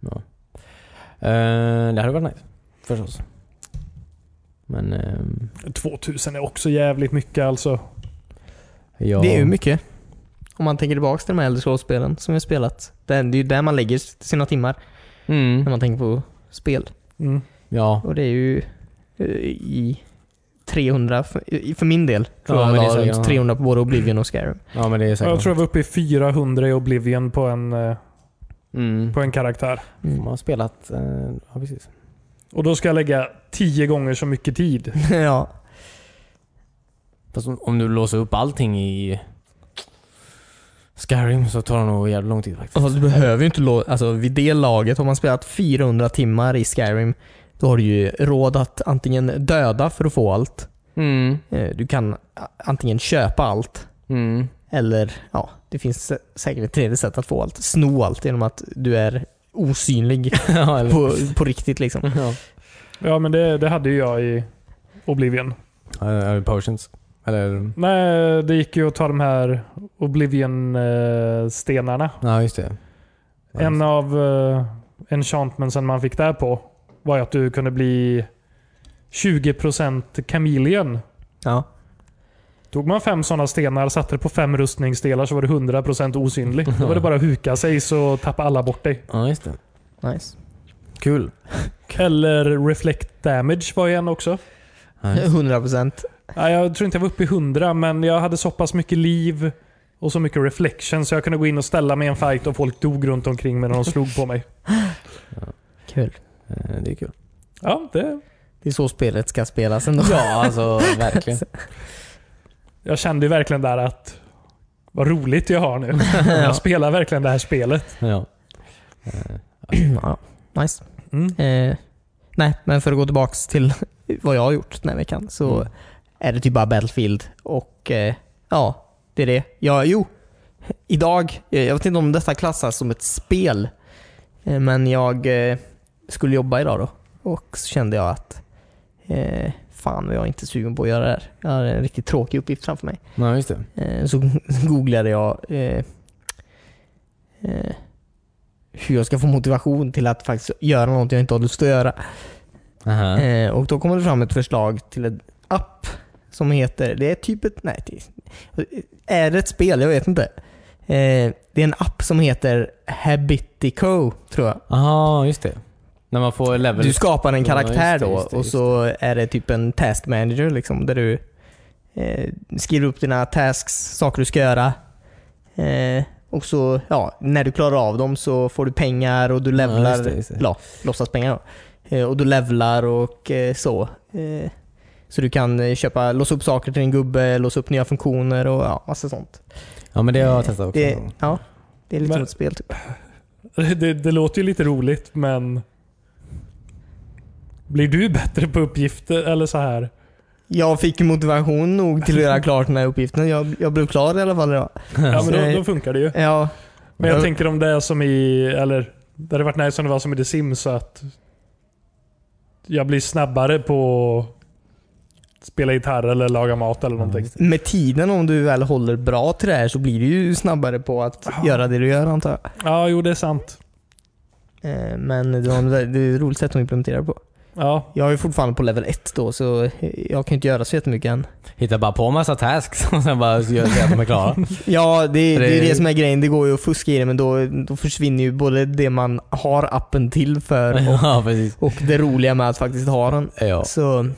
ja. Eh, det hade varit nice. Förstås. Men... ehm,
2000 är också jävligt mycket alltså.
ja.
Det är ju mycket. Om man tänker tillbaka till de här äldre skådespelen som vi har spelat. Det är det är ju där man lägger sina timmar när
Mm.
man tänker på spel.
Mm.
Ja.
Och det är ju eh, i 300, för i- för min del, tror
Ja,
jag
men det är
jag la
säkert,
runt
ja.
300 <laughs> på både Oblivion och Skyrim.
ja, men det är säkert.
Jag tror jag var uppe i 400 i Oblivion på en eh,
Mm.
på en karaktär.
Man har spelat... Eh, ja, precis.
Och då ska jag lägga tio gånger så mycket tid.
ja.
Fast om, om du låser upp allting i Skyrim så tar det nog jävligt lång tid faktiskt.
Alltså, du behöver ju inte lå- alltså, Vid det laget, har man spelat 400 timmar i Skyrim, då har du ju råd att antingen döda för att få allt.
Mm.
Eh, Du kan a- antingen köpa allt,
Mm.
eller ja, det finns sä- säkert ett tredje sätt att få allt. Sno allt genom att du är <laughs> osynlig
<laughs> ja, eller...
på, på riktigt liksom.
ja.
Ja, men det, det hade ju jag i Oblivion.
Uh, potions. Eller...
Nej, det gick ju att ta de här Oblivion-stenarna.
Ja, just det.
En av uh, enchantmentsen man fick där på var ju att du kunde bli 20% chameleon.
Ja.
Tog man fem sådana stenar, satte det på fem rustningsdelar så var du 100% osynlig. Då var det bara att huka sig så tappade alla bort dig.
Ja, just det.
Nice.
Kul.
Eller reflect damage var ju en också.
Eh,
100%.
Nej, jag tror inte jag var uppe i 100 men jag hade så pass mycket liv och så mycket reflection så jag kunde gå in och ställa mig i en fight och folk dog runt omkring mig när de slog på mig.
Kul.
Eh, Det är kul.
Ja, det,
Det är så spelet ska spelas ändå.
Ja, alltså verkligen.
jag kände ju verkligen där att vad roligt jag har nu. Jag spelar verkligen det här spelet.
<laughs> ja.
<clears throat> ja. Nice.
Mm.
Eh, nej, men för att gå tillbaks till <laughs> vad jag har gjort den här veckan så
Mm.
är det typ bara Battlefield och eh, ja, det är det. Ja, jo. Idag, eh, jag vet inte om detta klassas som ett spel, eh, men jag eh, skulle jobba idag då och så kände jag att eh, fan vad jag är inte sugen på att göra det här. Jag har en riktigt tråkig uppgift framför mig.
Ja, just det.
Eh, så <laughs> googlade jag eh, eh, hur jag ska få motivation till att faktiskt göra något jag inte har lust att göra.
Aha.
Eh, och då kommer det fram ett förslag till en app som heter, det är typ ett, nej, det, är det ett spel? Jag vet inte. Eh, det är en app som heter Habitico, tror jag.
Aha, just det. När man får level...
Du skapar en
Ja,
karaktär
just det,
då
just det,
och
just
så är det typ en task manager liksom, där du eh, skriver upp dina tasks, saker du ska göra. Eh, och så, ja, när du klarar av dem så får du pengar och du levlar,
just det, just det.
ja, låtsas pengar då. Eh, och du levlar och eh, så. Eh, så du kan eh, köpa, låsa upp saker till din gubbe, låsa upp nya funktioner och ja, massa sånt.
Ja, men det har jag testat också.
Det, ja, det är lite
Men-
som ett spel typ.
Det, det låter ju lite roligt men blir du bättre på uppgifter eller så här?
Jag fick motivation nog till att göra klart den här uppgiften. Jag, jag blev klar i alla fall idag.
Ja, men då, då funkar det ju.
Ja,
Men jag
Jag-
tänker om det är som i, eller det hade varit nice om det var som i The Sims så att jag blir snabbare på att spela gitarr eller laga mat eller någonting.
med tiden om du väl håller bra till det här så blir du ju snabbare på att göra det du gör antar jag.
Ja, jo det är sant.
Eh, Men det var en vä- det är ett roligt sätt att implementera det på.
Ja,
Jag är ju fortfarande på level 1 då så eh, jag kan ju inte göra så jättemycket än.
Hittar bara på massa tasks <laughs> och sen bara gör säger att de är klara.
Ja, det,
För
det
det-
är ju det som är grejen. Det går ju att fuska i det men då, då försvinner ju både det man har appen till för och,
<laughs> ja, precis.
och det roliga med att faktiskt ha den.
Ja,
Så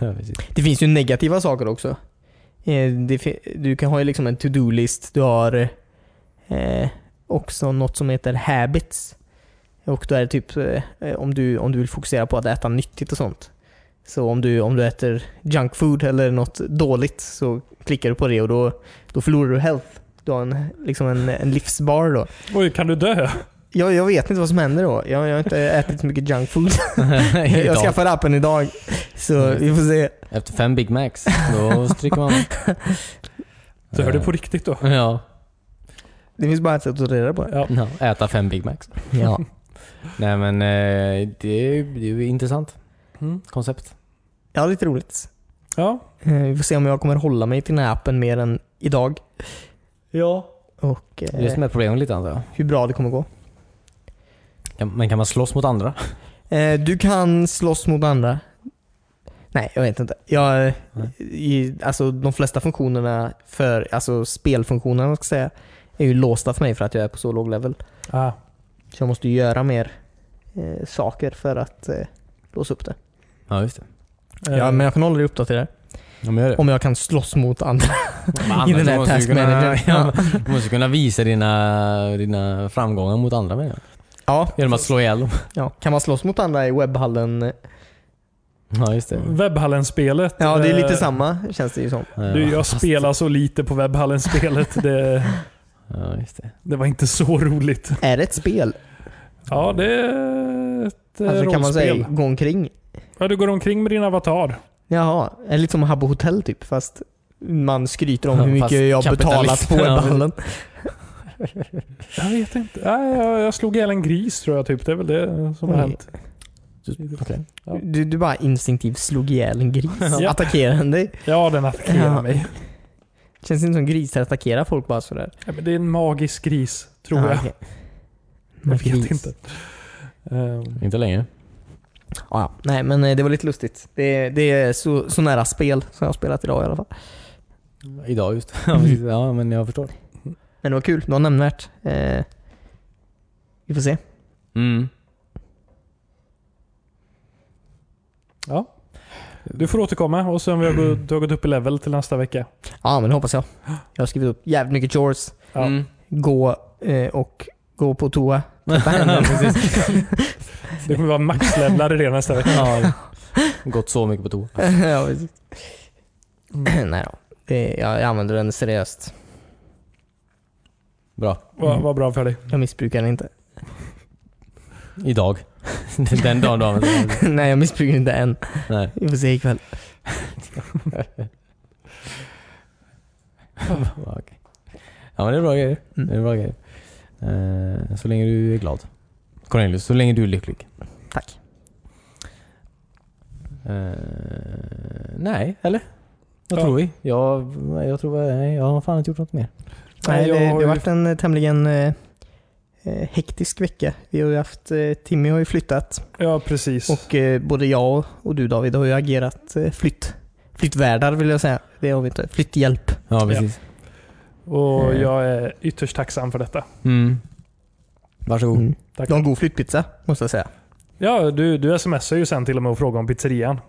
ja, precis.
Det finns ju negativa saker också. Eh, Det, fi- du kan ha ju liksom en to-do-list. Du har eh, också något som heter habits. Och då är det typ eh, om du, om du vill fokusera på att äta nyttigt och sånt. Så om du, om du äter junk food eller något dåligt så klickar du på det och då, då förlorar du health. Du har en, liksom en, en livsbar då.
oj kan du dö?
Jag, jag vet inte vad som händer då. Jag, jag har inte ätit så mycket junk food.
Idag, <laughs>
Jag skaffade appen idag. Så vi får se.
Efter fem Big Macs, då stryker <laughs> man. Eh,
Dör
Eh.
du på riktigt då?
Ja.
Det finns bara ett sätt att ta reda på det.
Ja.
ja, äta fem Big Macs.
Ja.
Nej men eh, det, det är ju intressant
Mm.
koncept.
Ja, lite roligt.
Ja.
Eh, Vi får se om jag kommer hålla mig till den här appen mer än idag.
ja.
Och
Det är det
eh,
som är problemet lite antar jag.
hur bra det kommer gå.
Kan- Men kan man slåss mot andra?
Eh, Du kan slåss mot andra. Nej, jag vet inte. Jag, eh, i, alltså, de flesta funktionerna, för, alltså spelfunktionerna ska jag säga, är ju låsta för mig för att jag är på så låg level.
Ah.
Så jag måste ju göra mer eh, saker för att eh, låsa upp det.
Ja, just det.
eh,
Ja, men jag kan hålla dig uppdaterad.
Ja, men gör det.
Om jag kan slåss mot andra. <laughs>
Men <laughs> annars
i den här
måste du
task
kunna-
manager.
<laughs> Ja, Du måste kunna visa dina, dina framgångar mot andra människor.
Ja,
Genom att slå ihjäl dem. <laughs>
ja. Kan man slåss mot andra i webbhallen?
Ja, just det.
Webbhallen-spelet.
Ja, det är lite
eh,
samma känns det ju som.
Ja,
Du, jag spelar så lite på
<laughs>
Webbhallen-spelet. Det,
Ja, just det.
det var inte så roligt.
Är det ett spel?
Ja, det är ett eh,
Alltså kan man säga
rollspel.
gå omkring?
Ja, du går omkring med din avatar.
Jaha, eller lite som Habbo Hotel typ fast man skryter om
Ja,
hur mycket
fast
jag har betalat på
kapitalisterna-
webbhallen.
Jag vet inte. Nej, jag, jag slog ihjäl en gris tror jag. Typ. Det är väl det som har
Oj.
hänt.
Okej.
Ja.
Du, du bara instinktivt slog ihjäl en gris.
<laughs> Ja.
Attackerade den dig.
Ja, den attackerar
Ja.
mig.
Känns inte som grisar attackerar folk bara sådär. Ah,
Ja, men det är en magisk gris, tror jag.
okej.
Jag vet
Gris.
inte. Ehm,
Inte längre.
Ja, ja. nej men eh, det var lite lustigt. Det, det är så, så nära spel som jag har spelat idag i alla fall.
Idag just. <laughs> Ja, precis. ja, men jag förstår.
Men det var kul, det var nämnvärt. Eh, vi får se.
Mm.
ja. Du får återkomma och se om vi har gått, du har gått upp i level till nästa
<laughs>
vecka.
Ja men det hoppas jag. Jag har skrivit upp jävligt mycket chores.
Ja.
Mm.
Gå eh, och gå på toa.
Ja, precis.
Det kommer vara maxlevlar i det nästa vecka.
Ja. Gått så mycket på toa.
<laughs> <laughs> ja, precis. Mm. Nej då. Det, jag, jag använder den seriöst.
Bra.
Vad vad bra för dig.
Jag missbrukar den inte.
Idag. <laughs> Den dagen du
<laughs>
använder den.
Nej, jag missbrukar den inte än.
Nej.
Vi får se ikväll.
Ja, okej. Ja men det är bra grejer.
Mm.
Det är bra grejer. Eh, Så länge du är glad. Cornelius, så länge du är lycklig.
Tack.
Eh, nej, eller? Vad
Ja.
tror vi? Jag, jag tror, eh, nej, jag har fan inte gjort något mer.
Nej,
jag
det, det
har
har
ju-
varit en eh, tämligen eh, eh, hektisk vecka. Vi har ju haft, eh, Timmy har ju flyttat
Ja, precis.
och eh, både jag och- och du David har ju agerat eh, flytt. Flyttvärdar vill jag säga. Det har vi inte. Flytthjälp.
Ja, precis.
Och
Eh.
jag är ytterst tacksam för detta.
Mm. Varsågod.
Mm.
Tack.
Du har en god flyttpizza, måste jag säga.
Ja, du, du smsar ju sen till och med och frågar om pizzerian.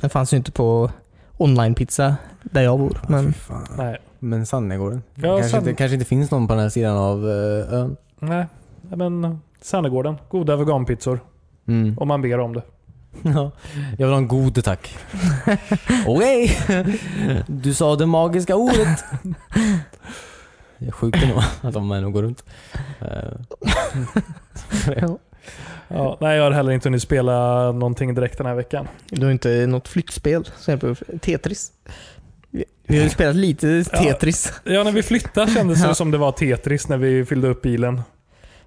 Den fanns ju inte på onlinepizza där jag bor. Men
Nej.
Men Sannegården?
Ja,
kanske,
Sanne-
inte, kanske inte finns någon på den här sidan av eh, ön?
Nej. Nej, Men Sannegården. Goda veganpizzor.
Mm.
Om man ber om det.
Ja. Jag vill ha en god tack. Okej! Du sa det magiska ordet. Det är sjukt ändå att de ändå går runt. Eh,
<laughs>
Ja, nej, jag har heller inte hunnit spela någonting direkt den här veckan.
du har inte något flyttspel. som hjälper upp. Tetris. Vi vi har ju spelat lite
Ja.
Tetris.
Ja, när vi flyttade kändes det
Ja.
som det var Tetris när vi fyllde upp bilen.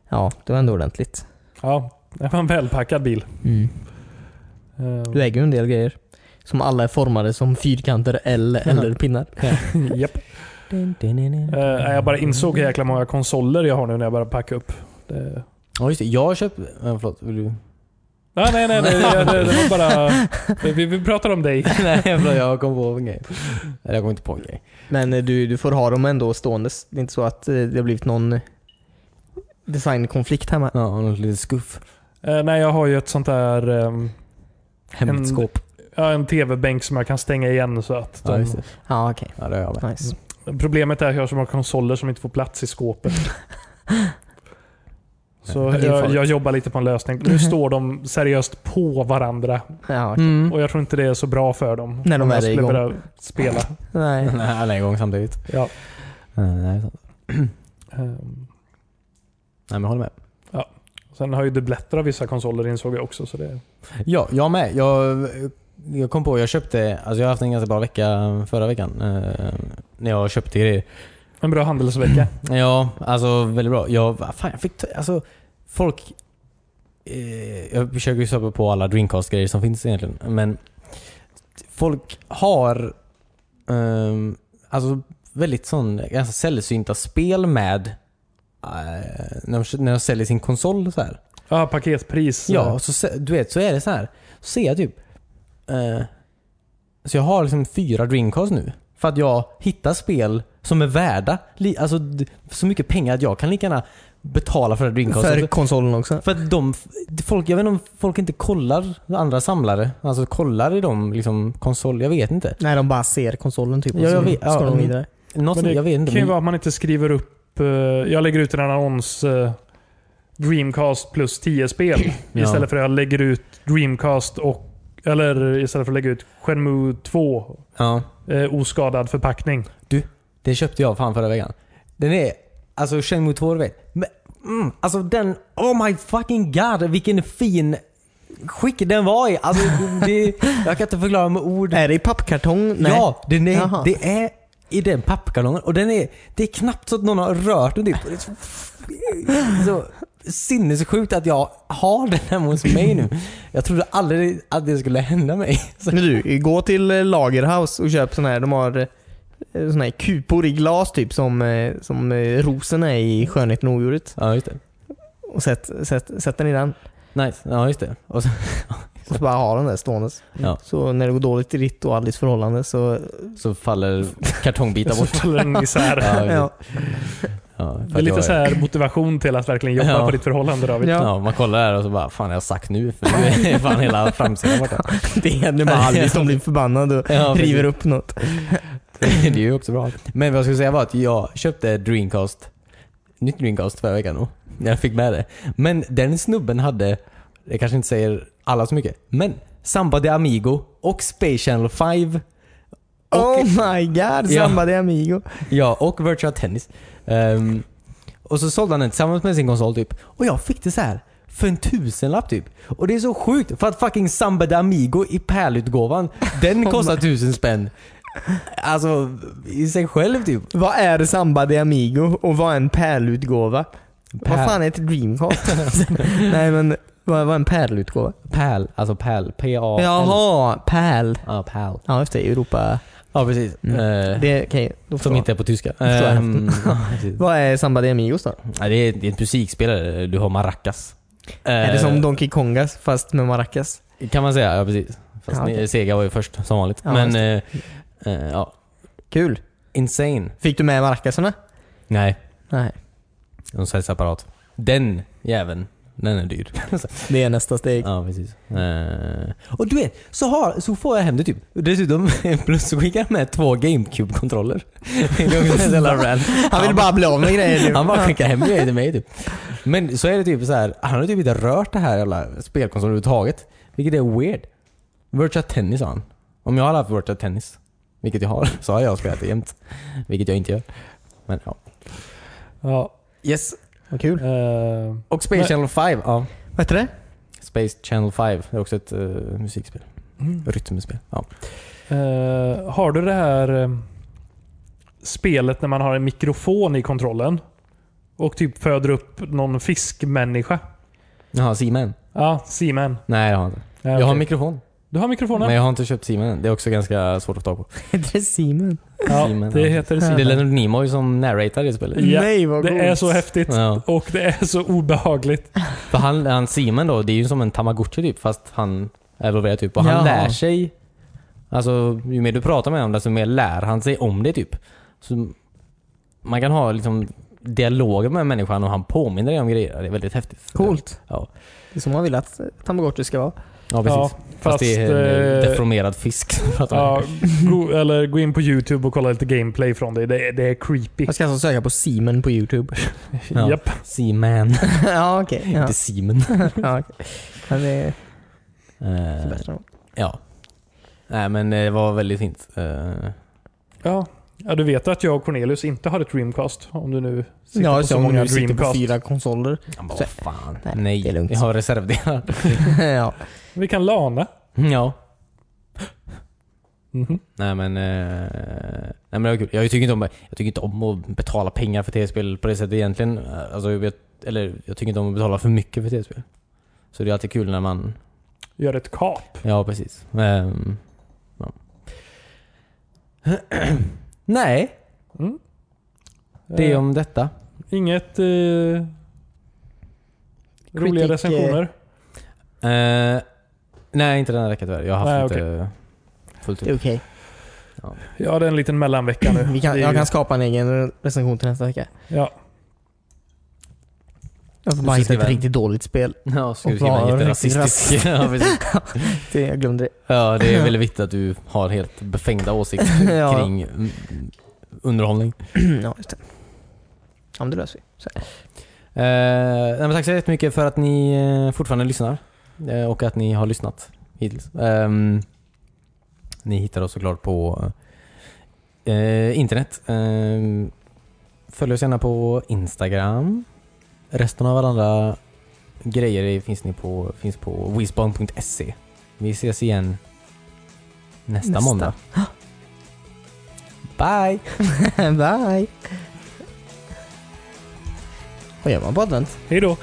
Ja, det var ändå ordentligt.
Ja, det var en välpackad
<laughs>
bil.
Mm.
Eh,
Du äger ju en del grejer. Som alla är formade som fyrkanter L eller pinnar.
Japp. Eh, nej, jag bara insåg hur jäkla många konsoler jag har nu när jag börjar packa upp. Det...
Ja just det, jag köpte... Äh, förlåt, vill du?
Nej, nej, nej. Det, det, det var bara... Vi, vi pratar om dig.
Nej, förlåt, jag kom på en grej. Eller jag kom inte på en grej.
Men eh, du, du får ha dem ändå ståendes. Det är inte så att eh, det har blivit någon eh, designkonflikt hemma.
Ja, något litet skuff.
Eh, nej, jag har ju ett sånt där... ehm,
Hemligt
En-
skåp.
ja, en tv-bänk som jag kan stänga igen så att...
Ja,
De...
just det.
Ja, okej.
Ja, det har jag med.
Nice.
Problemet är att jag har så många konsoler som inte får plats i
<laughs>
skåpet. Så
Ja, det är
jag,
farligt.
jag jobbar lite på en lösning.
<laughs>
Nu står de seriöst på varandra
Ja, okej.
Mm.
och jag tror inte det är så bra för dem.
När de
Om
är
jag skulle
igång.
börja spela.
Nej.
Nej, alla är igång samtidigt.
Ja.
Nej, nej, sant.
Ehm,
nej, men jag håller med.
Sen har ju dubbletter av vissa konsoler insåg jag också. Så det,
Ja, jag med. Jag, jag kom på, jag köpte, alltså jag har haft en ganska bra vecka förra veckan. Eh, när jag köpte grejer.
en bra
<clears throat>
handelsvecka.
Ja, alltså väldigt bra. Jag, vad fan, jag fick, ta- alltså folk... Eh, jag försöker ju söpa på alla Dreamcast-grejer som finns egentligen. Men folk har ehm, alltså väldigt sån, ganska sällsynta spel med eh, när, de, när de säljer sin konsol så här.
Ja, paketpris.
Ja, så, se- du vet, så är det så här. Så ser jag typ... Eh, så jag har liksom fyra Dreamcast nu. För att jag hittar spel som är värda li, alltså, d- så mycket pengar att jag kan lika gärna betala för det Dreamcastet.
För konsolen också.
För att de, folk, jag vet inte om folk inte kollar andra samlare. Alltså kollar i de liksom konsol, jag vet inte.
Nej, de bara ser konsolen typ. och
Ja, jag
så
vet- ja,
ska de
mm.
vidare.
Något,
Men det
jag vet inte.
kan ju
Men,
vara att man inte skriver upp... eh, jag lägger ut en annons. eh, Dreamcast plus 10 spel.
Ja.
Istället för att jag lägger ut Dreamcast och... Eller istället för att lägga ut Shenmue 2.
ja,
Eh, oskadad förpackning.
det köpte jag fan förra veckan. Den är, alltså Shenmue 2 du vet. Men, mm, alltså den, oh my fucking god vilken fin skick den var i. Alltså, det, jag kan inte förklara med ord.
Är det i pappkartong? Nej.
Ja, den
Jaha.
är, det är i den pappkartongen och den är, det är knappt så att någon har rört den typ. Och Det är så, så sinnessjukt att jag har den hemma hos mig nu. Jag trodde aldrig att det skulle hända mig. Så,
Men du, gå till eh, Lagerhaus och köp sån här. De har eh, sån här kupor i glas typ som, eh, som eh, rosorna i Skönheten och odjuret.
ja, just det.
Och sätt, sätt, sätt den i den.
Nice. Ja, just det. Och så,
Och så bara ha den där ståendes.
ja,
Så när det går dåligt i ditt och Alice förhållande så...
så faller
<laughs>
kartongbitar
Så
bort.
faller den isär.
Ja, just det.
Ja.
Ja, för
Det är
att
lite
jag-
så här motivation till att verkligen jobba
Ja.
på ditt förhållande David.
Ja.
Ja, man kollar här och så bara, fan jag har sagt nu? <laughs> För nu är fan hela framsidan borta.
<laughs>
<laughs> Det händer med Alice som blir förbannad och
Ja, precis.
river upp något.
<laughs> Det är ju också bra. Men vad jag skulle säga var att jag köpte Dreamcast, nytt Dreamcast förra veckan nog. När jag fick med det. Men den snubben hade, det kanske inte säger alla så mycket, men Samba de Amigo och Space Channel 5. Och,
Oh my god,
Ja.
Samba de Amigo.
Ja, och Virtual Tennis. Ehm, och så sålde han den tillsammans med sin konsol typ. Och jag fick det så här för en tusenlapp typ. Och det är så sjukt för att fucking Samba de Amigo i pärlutgåvan,
<laughs>
den kostar tusen spänn. Alltså i sig själv typ.
Vad är Samba de Amigo och vad är en pärlutgåva? Vad
Pärl.
fan är ett Dreamcast? <laughs> Nej men, vad vad är en pärlutgåva?
Pärl, alltså pärl. P-A-L.
Jaha, pärl.
Ja, pärl.
Ja just det, Europa.
Ja, precis.
Mm.
Eh,
Det, okay, då
som
förstår
inte är på tyska.
jag.
Eh, mm, <laughs> ja, precis.
jag. Vad är Samba de Amigos då?
Ja, det, är, det är ett musikspelare. Du har maracas.
Är det
Eh,
som Donkey Kongas fast med maracas?
Kan man säga, ja precis. Fast
Ja,
ni-
okej.
Sega var ju först, som vanligt.
Ja,
Men, eh, eh, ja.
Kul.
Insane.
Fick du med maracaserna?
Nej,
Nej.
de säljs separat. Den jäveln, den är dyr.
Det är nästa steg.
Ja, precis. Eh, och du vet, så, har, så får jag hem det typ. Dessutom, <laughs> plus så skickar jag med två
<laughs>
GameCube-kontroller. Det är också en jävla random.
Han vill bara bli av med grejer nu.
Han bara skickar hem grejer till mig typ. Men så är det typ så här. han har typ inte rört det här jävla spelkonsolen överhuvudtaget. Vilket är weird. Virtua Tennis har han. Om jag hade haft Virtua Tennis, vilket jag har, <laughs> så har jag spelat det jämt. Vilket jag inte gör. Men ja.
Ja,
Yes.
Vad kul.
eh,
Och Space
Men-
Channel 5. Ja.
Vad
<laughs>
heter det?
Space Channel 5 är också ett eh, musikspel. Rytmspel. Ja.
eh, har du det här eh, spelet när man har en mikrofon i kontrollen och typ föder upp någon fiskmänniska?
Jaha, Seaman?
Ja, Seaman.
Nej det har jag inte.
Ja,
Jag har
okej.
en mikrofon.
du har mikrofonen?
Men jag har inte köpt Seaman än. Det är också ganska svårt att få tag på.
Heter det Simon?
ja,
Seaman,
det
ja.
heter
Det är
Seaman.
Leonard Nimoy som narratar det spelet.
Ja,
Nej vad
Det är så häftigt.
Ja.
Och det är så obehagligt.
För han, han Simon då, det är ju som en tamagotchi typ fast han är evolverar typ. Och han
Jaha.
lär sig. Alltså ju mer du pratar med honom desto mer lär han sig om det typ. Så man kan ha liksom dialoger med människan och han påminner dig om grejer. Det är väldigt häftigt.
Coolt.
Ja,
Det är som man vill att eh, Tamagotchi ska vara.
ja precis.
Ja,
fast,
fast,
det är en eh,
eh,
deformerad fisk som pratar med.
Ja, go, eller gå in på YouTube och kolla lite gameplay från det. Det, är- det är creepy.
Jag ska alltså söka på Simon
<laughs>
på YouTube.
Ja.
Japp.
Seaman.
ja okej.
<laughs>
Ja.
Inte Simon.
Ja, okej. Men det är
Eh,
bättre.
ja. Nej men det var väldigt fint. Eh,
Ja. ja, du vet att jag och Cornelius inte har ett Dreamcast. Om du nu sitter
Ja,
på så
så om
många
du sitter på
Dreamcast.
<laughs>
fyra konsoler.
han bara,
Så-
"Vad fan.
Nej,
Nej,
det är lugnt."
jag har reservdelar. <laughs>
ja.
Vi kan lana.
ja.
Mhm.
Nej men, eh, nej men det var kul. Jag tycker, inte om, jag tycker inte om att betala pengar för tv-spel på det sättet egentligen. Alltså, jag, vet, eller, jag tycker inte om att betala för mycket för tv-spel. Så det är alltid kul när man...
Gör ett kap.
Ja, precis. Ehm, ja. <clears throat> nej, det är
Eh,
om detta.
Inget eh, roliga
eh,
recensioner.
Eh, nej, inte den här veckan tyvärr. Jag har haft
Nej,
lite fullt
<laughs> Det är
upp.
okej.
Jag hade en liten mellanvecka nu.
Vi
Det
kan,
är
jag
ju-
kan skapa en egen recension till nästa vecka.
ja.
Jag får
Du ska
bara hitta ett
skriva-
riktigt dåligt spel.
Ja, ska
Och
du skriva
vara
jätterasistisk. <laughs> ja, precis.
Det, jag glömde det.
ja, det är väldigt viktigt att du har helt befängda åsikter
Ja.
kring mm, underhållning.
ja, just det. <clears throat> Ja, men det löser vi. Så.
Eh, nej, men tack så jättemycket för att ni eh, fortfarande lyssnar. Eh, och att ni har lyssnat hittills. Ehm, ni hittar oss såklart på eh, internet. Ehm, följ oss gärna på Instagram. Resten av alla andra grejer är- finns, ni på, finns på wisbon.se. Vi ses igen nästa,
Nästa.
måndag. Bye!
Bye! Vad gör man på advent?
Hej då.